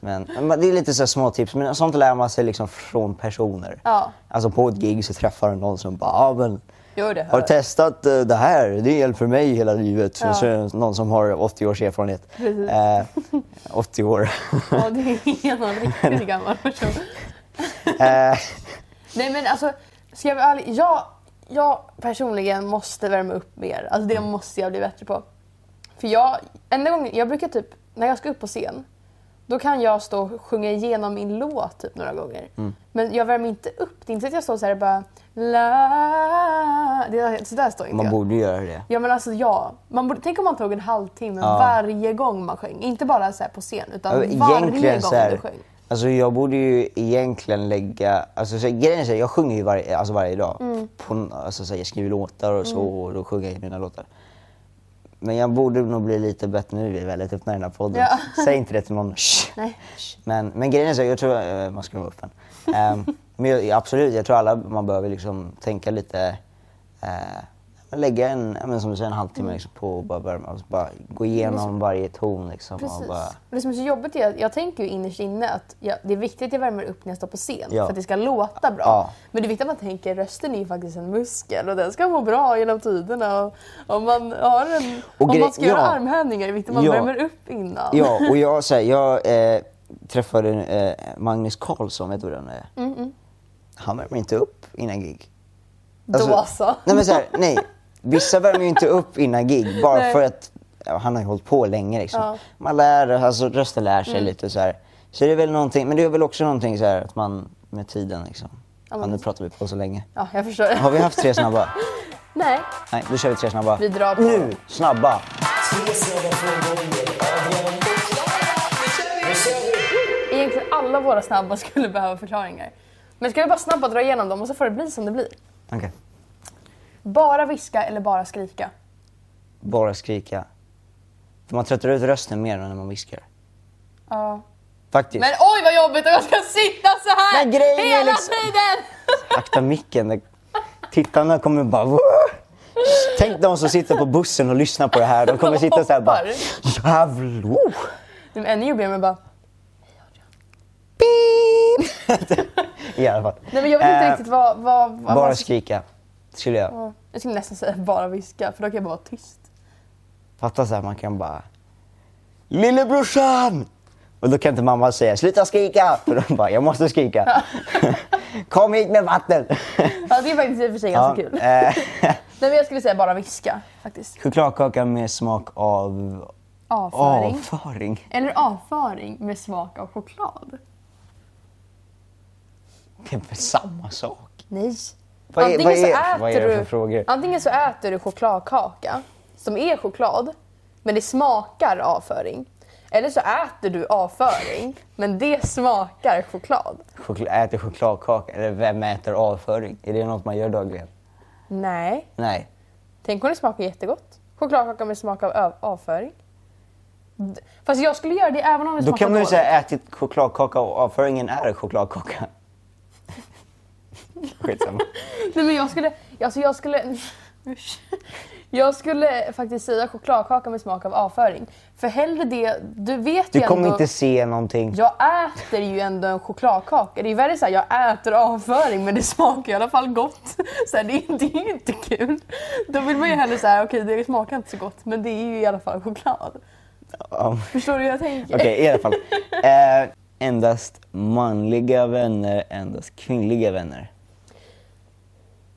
[SPEAKER 1] men, men det är lite så här små tips, men sånt lär man sig liksom från personer.
[SPEAKER 2] Ja.
[SPEAKER 1] Alltså på ett gig så träffar du någon som bara, ah, men,
[SPEAKER 2] Gör det här.
[SPEAKER 1] har du testat eh, det här? Det är hjälpt för mig hela livet.
[SPEAKER 2] Ja.
[SPEAKER 1] Sen så är det någon som har 80 års erfarenhet.
[SPEAKER 2] Precis.
[SPEAKER 1] Eh, 80 år.
[SPEAKER 2] Ja, det är någon riktigt gammal person.
[SPEAKER 1] Eh,
[SPEAKER 2] Nej men alltså, ska jag vara ärlig. Jag, jag personligen måste värma upp mer. Alltså
[SPEAKER 1] Mm.
[SPEAKER 2] det måste jag bli bättre på. För jag, enda gången, jag brukar typ, när jag ska upp på scen, då kan jag stå och sjunga igenom min låt typ några gånger.
[SPEAKER 1] Mm.
[SPEAKER 2] Men jag värmer inte upp. Det är inte så att jag står så här och bara la. Det, så där står inte
[SPEAKER 1] man
[SPEAKER 2] jag.
[SPEAKER 1] borde göra det.
[SPEAKER 2] Ja men alltså ja. Man borde, tänk om man tog en halvtimme
[SPEAKER 1] Ja.
[SPEAKER 2] varje gång man sjöng. Inte bara så här på scen utan
[SPEAKER 1] Ja, Alltså, Egentligen
[SPEAKER 2] varje gång
[SPEAKER 1] så här,
[SPEAKER 2] du sjöng.
[SPEAKER 1] alltså jag borde ju egentligen lägga, alltså så, här, grejen är så här, jag sjunger ju varje, alltså varje dag.
[SPEAKER 2] Mm.
[SPEAKER 1] På, alltså så här, jag skriver låtar och så och då sjunger jag mina låtar. Men jag borde nog bli lite bättre, nu är vi väldigt öppna i den här podden.
[SPEAKER 2] Ja.
[SPEAKER 1] Säg inte det till någon. Shh.
[SPEAKER 2] Nej.
[SPEAKER 1] Men, men grejen är så här, jag tror, eh, man ska vara öppen. Ehm, men jag, absolut, jag tror alla, man behöver liksom tänka lite, eh, lägga en, ja, men som du säger, en
[SPEAKER 2] Mm.
[SPEAKER 1] halvtimme liksom, på och bara, börja med- alltså, bara gå igenom varje ton liksom. Och
[SPEAKER 2] Precis.
[SPEAKER 1] bara,
[SPEAKER 2] Och det som är så jobbigt är att jag tänker ju innerst inne att jag, det är viktigt att jag värmer upp när jag står på scen
[SPEAKER 1] Ja.
[SPEAKER 2] för att det ska låta bra.
[SPEAKER 1] Ja.
[SPEAKER 2] Men det är viktigt att man tänker rösten är ju faktiskt en muskel och den ska må bra genom tiderna. Och om man, har en,
[SPEAKER 1] Och
[SPEAKER 2] om
[SPEAKER 1] gre-
[SPEAKER 2] man ska göra
[SPEAKER 1] ja.
[SPEAKER 2] armhävningar är det viktigt att man
[SPEAKER 1] Ja.
[SPEAKER 2] värmer upp innan.
[SPEAKER 1] Ja, och jag, så här, jag eh, träffade eh, Magnus Karlsson, vet du vem det är?
[SPEAKER 2] Mm,
[SPEAKER 1] Han värmer inte upp innan gig. Alltså,
[SPEAKER 2] Då så.
[SPEAKER 1] Nej, men så här, nej. Vissa värmer ju inte upp innan gig bara
[SPEAKER 2] Nej.
[SPEAKER 1] för att ja, han har ju hållit på länge. Liksom.
[SPEAKER 2] Ja. Mm.
[SPEAKER 1] Man lär, alltså, rösten lär sig lite. Så, här. så det är väl någonting, men det är väl också någonting så här, att man med tiden liksom.
[SPEAKER 2] Ja,
[SPEAKER 1] Ja,
[SPEAKER 2] men-
[SPEAKER 1] nu pratar vi på så länge.
[SPEAKER 2] Ja, jag förstår.
[SPEAKER 1] Har vi haft tre snabba?
[SPEAKER 2] Nej.
[SPEAKER 1] Nej, då kör vi tre snabba.
[SPEAKER 2] Vi drar på.
[SPEAKER 1] Nu, snabba!
[SPEAKER 2] Egentligen alla våra snabba skulle behöva förklaringar. Men ska vi bara snabbt dra igenom dem och så får det bli som det blir.
[SPEAKER 1] Okej.
[SPEAKER 2] Bara viska eller bara skrika?
[SPEAKER 1] Bara skrika. För man tröttar ut rösten mer än när man viskar.
[SPEAKER 2] Ja.
[SPEAKER 1] Faktiskt.
[SPEAKER 2] Men oj vad jobbigt om jag ska sitta så här
[SPEAKER 1] Men grejen är
[SPEAKER 2] hela
[SPEAKER 1] liksom-
[SPEAKER 2] tiden!
[SPEAKER 1] Akta micken. det- Tittarna kommer bara... "Wah!" Tänk de som sitter på bussen och lyssnar på det här. De kommer sitta så här bara... Jävlar! oh."
[SPEAKER 2] Det är ännu jobbigare med bara...
[SPEAKER 1] Beep. I alla fall.
[SPEAKER 2] Nej men jag vet inte
[SPEAKER 1] Eh,
[SPEAKER 2] riktigt vad... vad, vad
[SPEAKER 1] Bara
[SPEAKER 2] man-
[SPEAKER 1] skrika. Skulle jag.
[SPEAKER 2] Jag skulle nästan säga bara viska för då kan jag bara vara tyst.
[SPEAKER 1] Fatta så här, man kan bara... Lillebrorsan! Och då kan inte mamma säga sluta skrika. För de bara, jag måste skrika. Kom hit med vatten.
[SPEAKER 2] Ja det är faktiskt i och för sig ganska
[SPEAKER 1] Ja,
[SPEAKER 2] kul. Nej
[SPEAKER 1] eh,
[SPEAKER 2] men jag skulle säga bara viska faktiskt.
[SPEAKER 1] Chokladkaka med smak av
[SPEAKER 2] Avföring.
[SPEAKER 1] avföring.
[SPEAKER 2] Eller avföring med smak av choklad.
[SPEAKER 1] Det är väl samma sak?
[SPEAKER 2] Nej.
[SPEAKER 1] Vad är- vad
[SPEAKER 2] Antingen så
[SPEAKER 1] är-
[SPEAKER 2] äter
[SPEAKER 1] vad är det för
[SPEAKER 2] du-
[SPEAKER 1] frågor?
[SPEAKER 2] Antingen så äter du chokladkaka som är choklad men det smakar avföring. Eller så äter du avföring men det smakar choklad.
[SPEAKER 1] Chokla- äter chokladkaka? Eller vem äter avföring? Är det något man gör dagligen?
[SPEAKER 2] Nej.
[SPEAKER 1] Nej.
[SPEAKER 2] Tänk om det smakar jättegott. Chokladkaka med smak av ö- avföring. D- Fast jag skulle göra det även om det
[SPEAKER 1] Då
[SPEAKER 2] smakar
[SPEAKER 1] kan man ju
[SPEAKER 2] dåligt.
[SPEAKER 1] säga ätit chokladkaka och avföringen är chokladkaka. Skitsamma.
[SPEAKER 2] Nej men jag skulle... Alltså jag skulle... Usch. Jag skulle faktiskt säga chokladkaka med smak av avföring. För hellre det... Du vet
[SPEAKER 1] Du
[SPEAKER 2] ju
[SPEAKER 1] kommer
[SPEAKER 2] ändå...
[SPEAKER 1] inte se någonting.
[SPEAKER 2] Jag äter ju ändå en chokladkaka. Det är ju värre såhär, jag äter avföring men det smakar i alla fall gott. Så här, det, är, det är ju inte kul. Då vill man ju hellre säga okej det smakar inte så gott men det är ju i alla fall choklad.
[SPEAKER 1] Ja.
[SPEAKER 2] Förstår du hur jag tänker?
[SPEAKER 1] Okej, i alla fall. Eh, endast manliga vänner, endast kvinnliga vänner.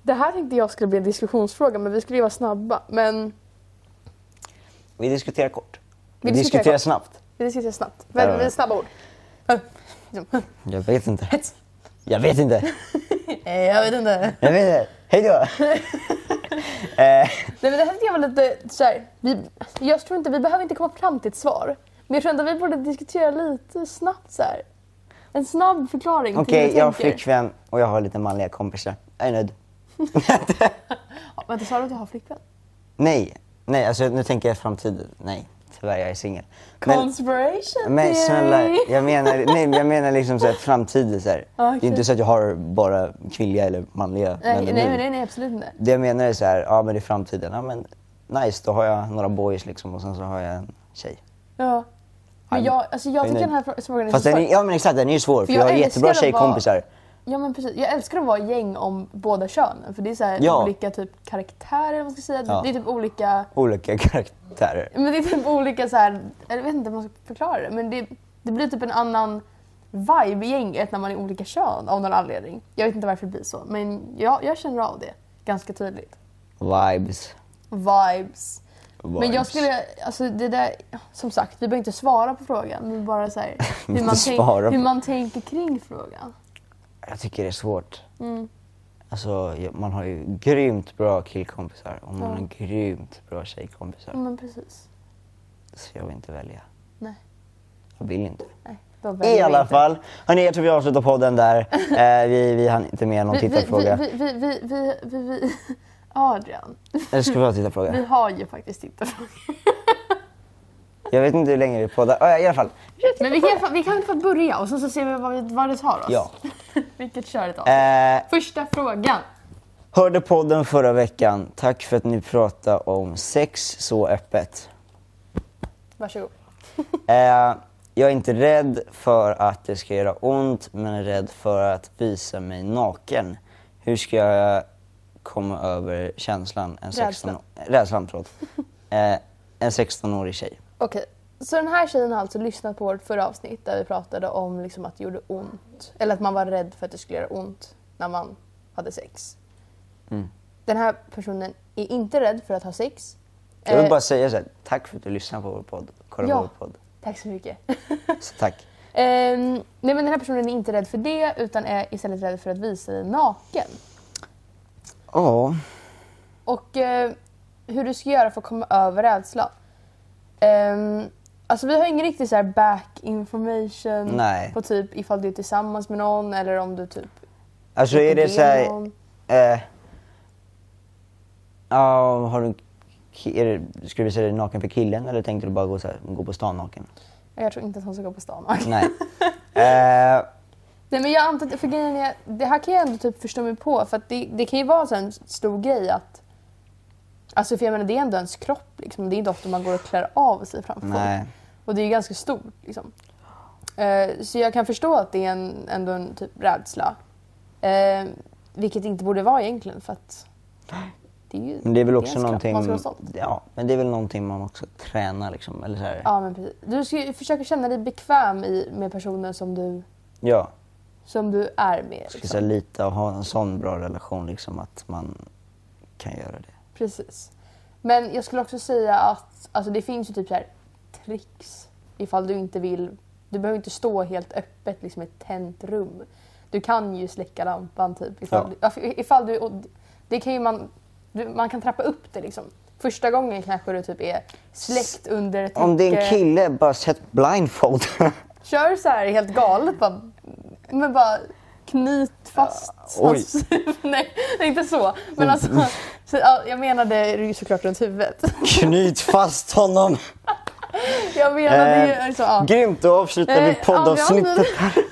[SPEAKER 2] Det här tänkte jag skulle bli en diskussionsfråga, men vi skulle ju vara snabba. Men
[SPEAKER 1] Vi diskuterar kort. Vi,
[SPEAKER 2] Vi diskuterar
[SPEAKER 1] diskuterar,
[SPEAKER 2] kort.
[SPEAKER 1] snabbt.
[SPEAKER 2] vi diskuterar snabbt.
[SPEAKER 1] Ja,
[SPEAKER 2] Men,
[SPEAKER 1] ja, ja.
[SPEAKER 2] men snabba ord.
[SPEAKER 1] Jag vet inte. Jag vet inte.
[SPEAKER 2] Nej, jag vet inte.
[SPEAKER 1] Jag vet inte. Hej då! eh,
[SPEAKER 2] Nej, men det här tyckte jag var lite så här, vi, Jag tror inte, vi behöver inte komma fram till ett svar. Men jag tror ändå vi borde diskutera lite snabbt så här. En snabb förklaring
[SPEAKER 1] Okej,
[SPEAKER 2] till hur
[SPEAKER 1] jag har
[SPEAKER 2] jag tänker.
[SPEAKER 1] flickvän och jag har lite manliga kompisar. Jag är nöjd.
[SPEAKER 2] Ja, vänta, sa du att du har flickvän?
[SPEAKER 1] Nej, nej, alltså nu tänker jag framtiden. Nej, tyvärr, jag är singel. Men,
[SPEAKER 2] Conspiration
[SPEAKER 1] men snälla,
[SPEAKER 2] theory.
[SPEAKER 1] jag menar, nej, men jag menar liksom så här, framtiden. Så här.
[SPEAKER 2] Okej.
[SPEAKER 1] Det är inte så att jag har bara kvinnliga eller manliga
[SPEAKER 2] Nej,
[SPEAKER 1] vänner
[SPEAKER 2] nej,
[SPEAKER 1] nu.
[SPEAKER 2] men nej, nej, absolut inte.
[SPEAKER 1] Det jag menar är så här, ja men det är framtiden. Ja men nice, då har jag några boys liksom och sen så har jag en tjej.
[SPEAKER 2] Ja. Men jag, alltså jag
[SPEAKER 1] är
[SPEAKER 2] tycker
[SPEAKER 1] nöjd.
[SPEAKER 2] den här frå- frågan är
[SPEAKER 1] Fast
[SPEAKER 2] så
[SPEAKER 1] den
[SPEAKER 2] svår.
[SPEAKER 1] är, ja men exakt, den är ju svår för
[SPEAKER 2] jag
[SPEAKER 1] jag har
[SPEAKER 2] älskar
[SPEAKER 1] jättebra
[SPEAKER 2] att vara-
[SPEAKER 1] tjejkompisar.
[SPEAKER 2] Ja men precis. Jag älskar att vara gäng om båda könen för det är så här
[SPEAKER 1] Ja.
[SPEAKER 2] olika typ karaktärer, vad man ska säga. Det-
[SPEAKER 1] Ja.
[SPEAKER 2] Det är typ olika...
[SPEAKER 1] Olika karaktärer.
[SPEAKER 2] Men det är typ olika så här, jag vet inte hur man ska förklara det men det, det blir typ en annan vibe i gänget när man är olika kön av någon anledning. Jag vet inte varför det blir så men jag, jag känner av det ganska tydligt.
[SPEAKER 1] Vibes.
[SPEAKER 2] Vibes. Men jag
[SPEAKER 1] Vibes.
[SPEAKER 2] skulle, alltså det där, som sagt vi behöver inte svara på frågan men bara så här, hur,
[SPEAKER 1] Inte
[SPEAKER 2] man
[SPEAKER 1] svara
[SPEAKER 2] tänk,
[SPEAKER 1] på-
[SPEAKER 2] hur man tänker kring frågan.
[SPEAKER 1] Jag tycker det är svårt.
[SPEAKER 2] Mm.
[SPEAKER 1] Alltså jag- man har ju grymt bra killkompisar och man
[SPEAKER 2] Ja.
[SPEAKER 1] har grymt bra tjejkompisar.
[SPEAKER 2] Men precis.
[SPEAKER 1] Så jag vill inte välja.
[SPEAKER 2] Nej.
[SPEAKER 1] Jag vill inte.
[SPEAKER 2] Nej, då väljer
[SPEAKER 1] I
[SPEAKER 2] vi
[SPEAKER 1] alla
[SPEAKER 2] inte.
[SPEAKER 1] fall. Hörni, jag tror vi avslutar podden där. Eh, vi, vi hann inte med någon
[SPEAKER 2] Vi, vi,
[SPEAKER 1] tittarfråga.
[SPEAKER 2] vi, vi, vi, vi, vi, vi, Adrian,
[SPEAKER 1] Eller ska vi ha en
[SPEAKER 2] vi
[SPEAKER 1] tittarfråga?
[SPEAKER 2] har ju faktiskt tittarfrågor.
[SPEAKER 1] Jag vet inte hur länge vi poddar. Ah, I alla fall.
[SPEAKER 2] Men vi kan, vi kan få börja och så, så ser vi vad, vi, vad det tar oss.
[SPEAKER 1] Ja.
[SPEAKER 2] Vilket kör det tar oss.
[SPEAKER 1] Eh,
[SPEAKER 2] Första frågan.
[SPEAKER 1] hörde podden förra veckan. Tack för att ni pratade om sex så öppet.
[SPEAKER 2] Varsågod.
[SPEAKER 1] Eh, jag är inte rädd för att det ska göra ont, men är rädd för att visa mig naken. Hur ska jag komma över känslan? En 16 Rädslan, förlåt. Eh, en 16-årig tjej.
[SPEAKER 2] Okej, så den här tjejen har alltså lyssnat på vårt förra avsnitt där vi pratade om liksom att det gjorde ont. Eller att man var rädd för att det skulle göra ont när man hade sex.
[SPEAKER 1] Mm.
[SPEAKER 2] Den här personen är inte rädd för att ha sex.
[SPEAKER 1] Jag vill
[SPEAKER 2] Eh,
[SPEAKER 1] bara säga så här, tack för att du lyssnar på vår podd. Kolla på
[SPEAKER 2] Ja.
[SPEAKER 1] vår podd.
[SPEAKER 2] Tack så mycket.
[SPEAKER 1] Så tack.
[SPEAKER 2] Ehm, nej men den här personen är inte rädd för det utan är istället rädd för att visa dig naken.
[SPEAKER 1] Ja,
[SPEAKER 2] Och eh, hur du ska göra för att komma över rädslan. Ehm, alltså vi har ingen riktig så här back information
[SPEAKER 1] Nej.
[SPEAKER 2] på typ ifall du är tillsammans med någon eller om du typ...
[SPEAKER 1] alltså är det så här...
[SPEAKER 2] Någon.
[SPEAKER 1] Eh, ja, har du... Är det, ska du visa dig naken för killen eller tänkte du bara gå, så här, gå på stan naken?
[SPEAKER 2] Jag tror inte att hon ska gå på stan. Nej.
[SPEAKER 1] Nej. Eh,
[SPEAKER 2] men jag antar för grejen är, det här kan jag ändå typ förstå mig på för att det, det kan ju vara så här en stor grej att Alltså för jag menar det är ändå ens kropp liksom. Det är inte ofta man går och klär av sig framför folk.
[SPEAKER 1] nej.
[SPEAKER 2] Och det är ju ganska stort. Liksom. Eh, så jag kan förstå att det är en, ändå en typ rädsla. Eh, vilket inte borde vara egentligen för att det är ju
[SPEAKER 1] Men det är väl
[SPEAKER 2] ens
[SPEAKER 1] också
[SPEAKER 2] kropp.
[SPEAKER 1] någonting...
[SPEAKER 2] Man ska vara stolt.
[SPEAKER 1] ja, men det är väl någonting man också tränar liksom. Eller så här.
[SPEAKER 2] Ja, men precis. Du ska ju försöka känna dig bekväm i, med personen som du,
[SPEAKER 1] Ja.
[SPEAKER 2] som du är med.
[SPEAKER 1] Ska så här,
[SPEAKER 2] Liksom.
[SPEAKER 1] lita och ha en sån bra relation liksom att man kan göra det.
[SPEAKER 2] Precis. Men jag skulle också säga att alltså, det finns ju typ så här tricks ifall du inte vill. Du behöver inte stå helt öppet liksom i ett tänt rum. Du kan ju släcka lampan typ. Ifall, du- ifall du, och det kan ju man, du, man kan trappa upp det liksom. Första gången kanske du typ är släckt under ett
[SPEAKER 1] Om det är en
[SPEAKER 2] täcke.
[SPEAKER 1] kille, bara sätt blindfold.
[SPEAKER 2] Kör så här helt galet bara, men bara knyt fast
[SPEAKER 1] Ja, oj. Mm.
[SPEAKER 2] hans Nej, inte så. Men alltså, så, ja, jag menade ju såklart runt huvudet.
[SPEAKER 1] Knyt fast honom.
[SPEAKER 2] Jag menade ju...
[SPEAKER 1] Eh,
[SPEAKER 2] Alltså, ja.
[SPEAKER 1] Grymt, då avslutar vi
[SPEAKER 2] Eh,
[SPEAKER 1] poddavsnittet.
[SPEAKER 2] ja, men-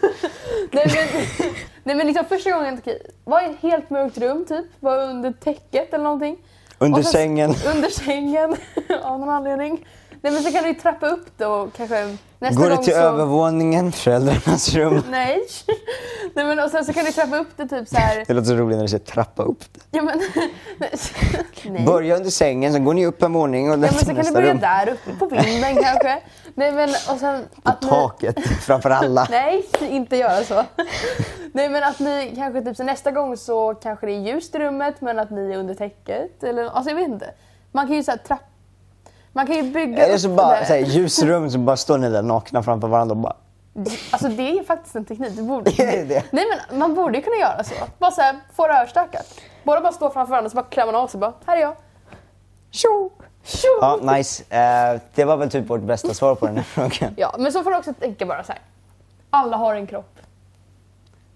[SPEAKER 2] nej, men, nej men liksom första gången, okej, var i ett helt mörkt rum typ, var under täcket eller någonting.
[SPEAKER 1] Under
[SPEAKER 2] Och sen-
[SPEAKER 1] sängen.
[SPEAKER 2] Under sängen av någon anledning. Nej men så kan du ju trappa upp det och kanske nästa
[SPEAKER 1] Går det
[SPEAKER 2] gång
[SPEAKER 1] till
[SPEAKER 2] så...
[SPEAKER 1] övervåningen, föräldrarnas rum.
[SPEAKER 2] Nej. nej men och sen så kan du trappa upp det typ så här.
[SPEAKER 1] Det låter så roligt när du säger trappa upp.
[SPEAKER 2] Ja, men, nej. nej.
[SPEAKER 1] Börja under sängen, sen går ni upp en våning och
[SPEAKER 2] Ja, men så
[SPEAKER 1] nästa,
[SPEAKER 2] kan du
[SPEAKER 1] nästa
[SPEAKER 2] börja
[SPEAKER 1] rum.
[SPEAKER 2] där uppe på vinden kanske. Nej men och sen...
[SPEAKER 1] På
[SPEAKER 2] ni-
[SPEAKER 1] taket, framför alla.
[SPEAKER 2] Nej, inte göra så. Nej men att ni kanske typ så nästa gång så kanske det är ljust i rummet men att ni är under täcket. Eller, alltså jag vet inte. Man kan ju såhär trapp... Man kan ju bygga
[SPEAKER 1] Eller så
[SPEAKER 2] upp
[SPEAKER 1] bara
[SPEAKER 2] det.
[SPEAKER 1] så här, ljusrum, så bara står ni där nakna framför varandra och bara...
[SPEAKER 2] Alltså det är faktiskt en teknik. Du borde...
[SPEAKER 1] Är det det?
[SPEAKER 2] Nej men man borde ju kunna göra så. Bara såhär, få det överstökat. Båda bara står framför varandra så bara klär man av sig bara, här är jag.
[SPEAKER 1] Tjo!
[SPEAKER 2] Tjo!
[SPEAKER 1] Ja, nice. Eh, det var väl typ vårt bästa svar på den här frågan.
[SPEAKER 2] Ja, men så får du också tänka bara så här. Alla har en kropp.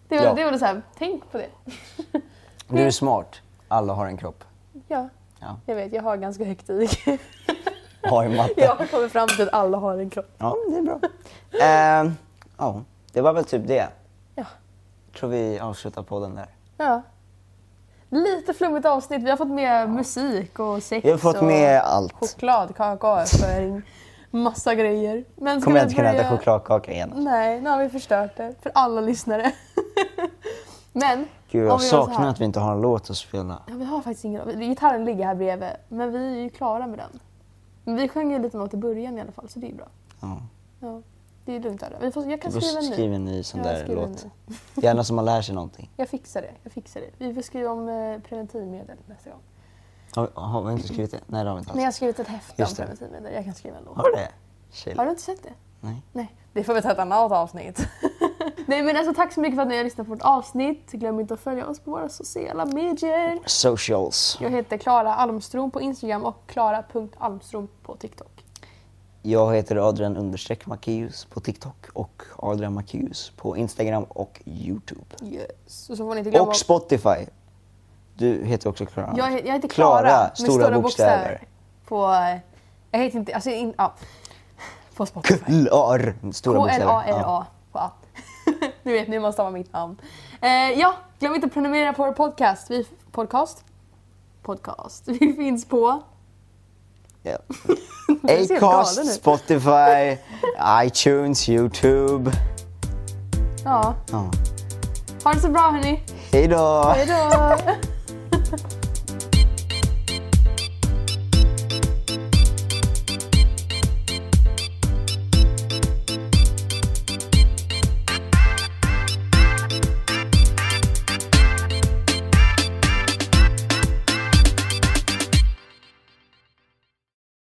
[SPEAKER 2] Det är väl,
[SPEAKER 1] Ja.
[SPEAKER 2] det är väl så här, tänk på det.
[SPEAKER 1] Du är smart. Alla har en kropp.
[SPEAKER 2] Ja,
[SPEAKER 1] Ja.
[SPEAKER 2] jag vet, jag har ganska högt i.
[SPEAKER 1] Har i matte.
[SPEAKER 2] Jag har kommit fram till att alla har en kropp.
[SPEAKER 1] Ja, det är bra. Eh, Ja, det var väl typ det.
[SPEAKER 2] Ja.
[SPEAKER 1] Tror vi avslutar podden där.
[SPEAKER 2] ja. Lite flummigt avsnitt. Vi har fått med musik och sex
[SPEAKER 1] Vi har fått
[SPEAKER 2] och
[SPEAKER 1] med allt.
[SPEAKER 2] chokladkaka och överföring. massa grejer. Men ska
[SPEAKER 1] Kommer jag
[SPEAKER 2] vi
[SPEAKER 1] inte kunna
[SPEAKER 2] börja- Mm.
[SPEAKER 1] äta chokladkaka igen.
[SPEAKER 2] Nej, nu har vi förstört det för alla lyssnare. men...
[SPEAKER 1] Gud,
[SPEAKER 2] om
[SPEAKER 1] jag
[SPEAKER 2] vi gör så
[SPEAKER 1] saknar
[SPEAKER 2] här-
[SPEAKER 1] att vi inte har en låt att spela.
[SPEAKER 2] Ja, vi har faktiskt ingen Gitarren ligger här bredvid, men vi är ju klara med den. Men vi sjöng ju lite låt i början i alla fall, så det är ju bra.
[SPEAKER 1] Ja.
[SPEAKER 2] Ja, det är lugnt. Adam. Vi får, jag kan
[SPEAKER 1] Du får
[SPEAKER 2] skriva en ny.
[SPEAKER 1] skriva en ny sån
[SPEAKER 2] Ja,
[SPEAKER 1] där
[SPEAKER 2] skriv en
[SPEAKER 1] låt.
[SPEAKER 2] ny.
[SPEAKER 1] Gärna som man lär sig någonting.
[SPEAKER 2] Jag fixar det. Jag fixar det. Vi får skriva om eh, preventivmedel nästa gång.
[SPEAKER 1] Har, har vi inte skrivit det? Nej, det har vi inte
[SPEAKER 2] Men jag
[SPEAKER 1] alls.
[SPEAKER 2] har skrivit ett häfte om
[SPEAKER 1] Just det.
[SPEAKER 2] preventivmedel. Jag kan skriva en låt.
[SPEAKER 1] Har du det? Chill.
[SPEAKER 2] Har du inte sett det?
[SPEAKER 1] Nej.
[SPEAKER 2] Nej, det får vi ta ett annat avsnitt. Nej men alltså tack så mycket för att ni har lyssnat på vårt avsnitt. Glöm inte att följa oss på våra sociala medier.
[SPEAKER 1] Socials.
[SPEAKER 2] Jag heter Klara Almstrom på Instagram och klara.almstrom på TikTok.
[SPEAKER 1] Jag heter Adrian understreck Macéus på TikTok och Adrian Macéus på Instagram och Youtube.
[SPEAKER 2] Yes. Och så får ni inte glömma...
[SPEAKER 1] Och Spotify. Du heter också Klara.
[SPEAKER 2] jag, he- jag heter Klara med
[SPEAKER 1] stora, bokstäver.
[SPEAKER 2] På... eh, Jag heter inte... Alltså, in, ja. På Spotify.
[SPEAKER 1] Klar, med stora bokstäver.
[SPEAKER 2] K-L-A-R-A på app. nu vet ni hur man stavar mitt namn. Eh, ja, glöm inte att prenumerera på vår podcast. Vi, podcast? Podcast. Vi finns på...
[SPEAKER 1] Ja.
[SPEAKER 2] Du ser helt galen
[SPEAKER 1] Acast,
[SPEAKER 2] ut.
[SPEAKER 1] Spotify, iTunes, Youtube.
[SPEAKER 2] Ja.
[SPEAKER 1] Ja.
[SPEAKER 2] Ha det så bra hörni.
[SPEAKER 1] Hej då!
[SPEAKER 2] Hejdå!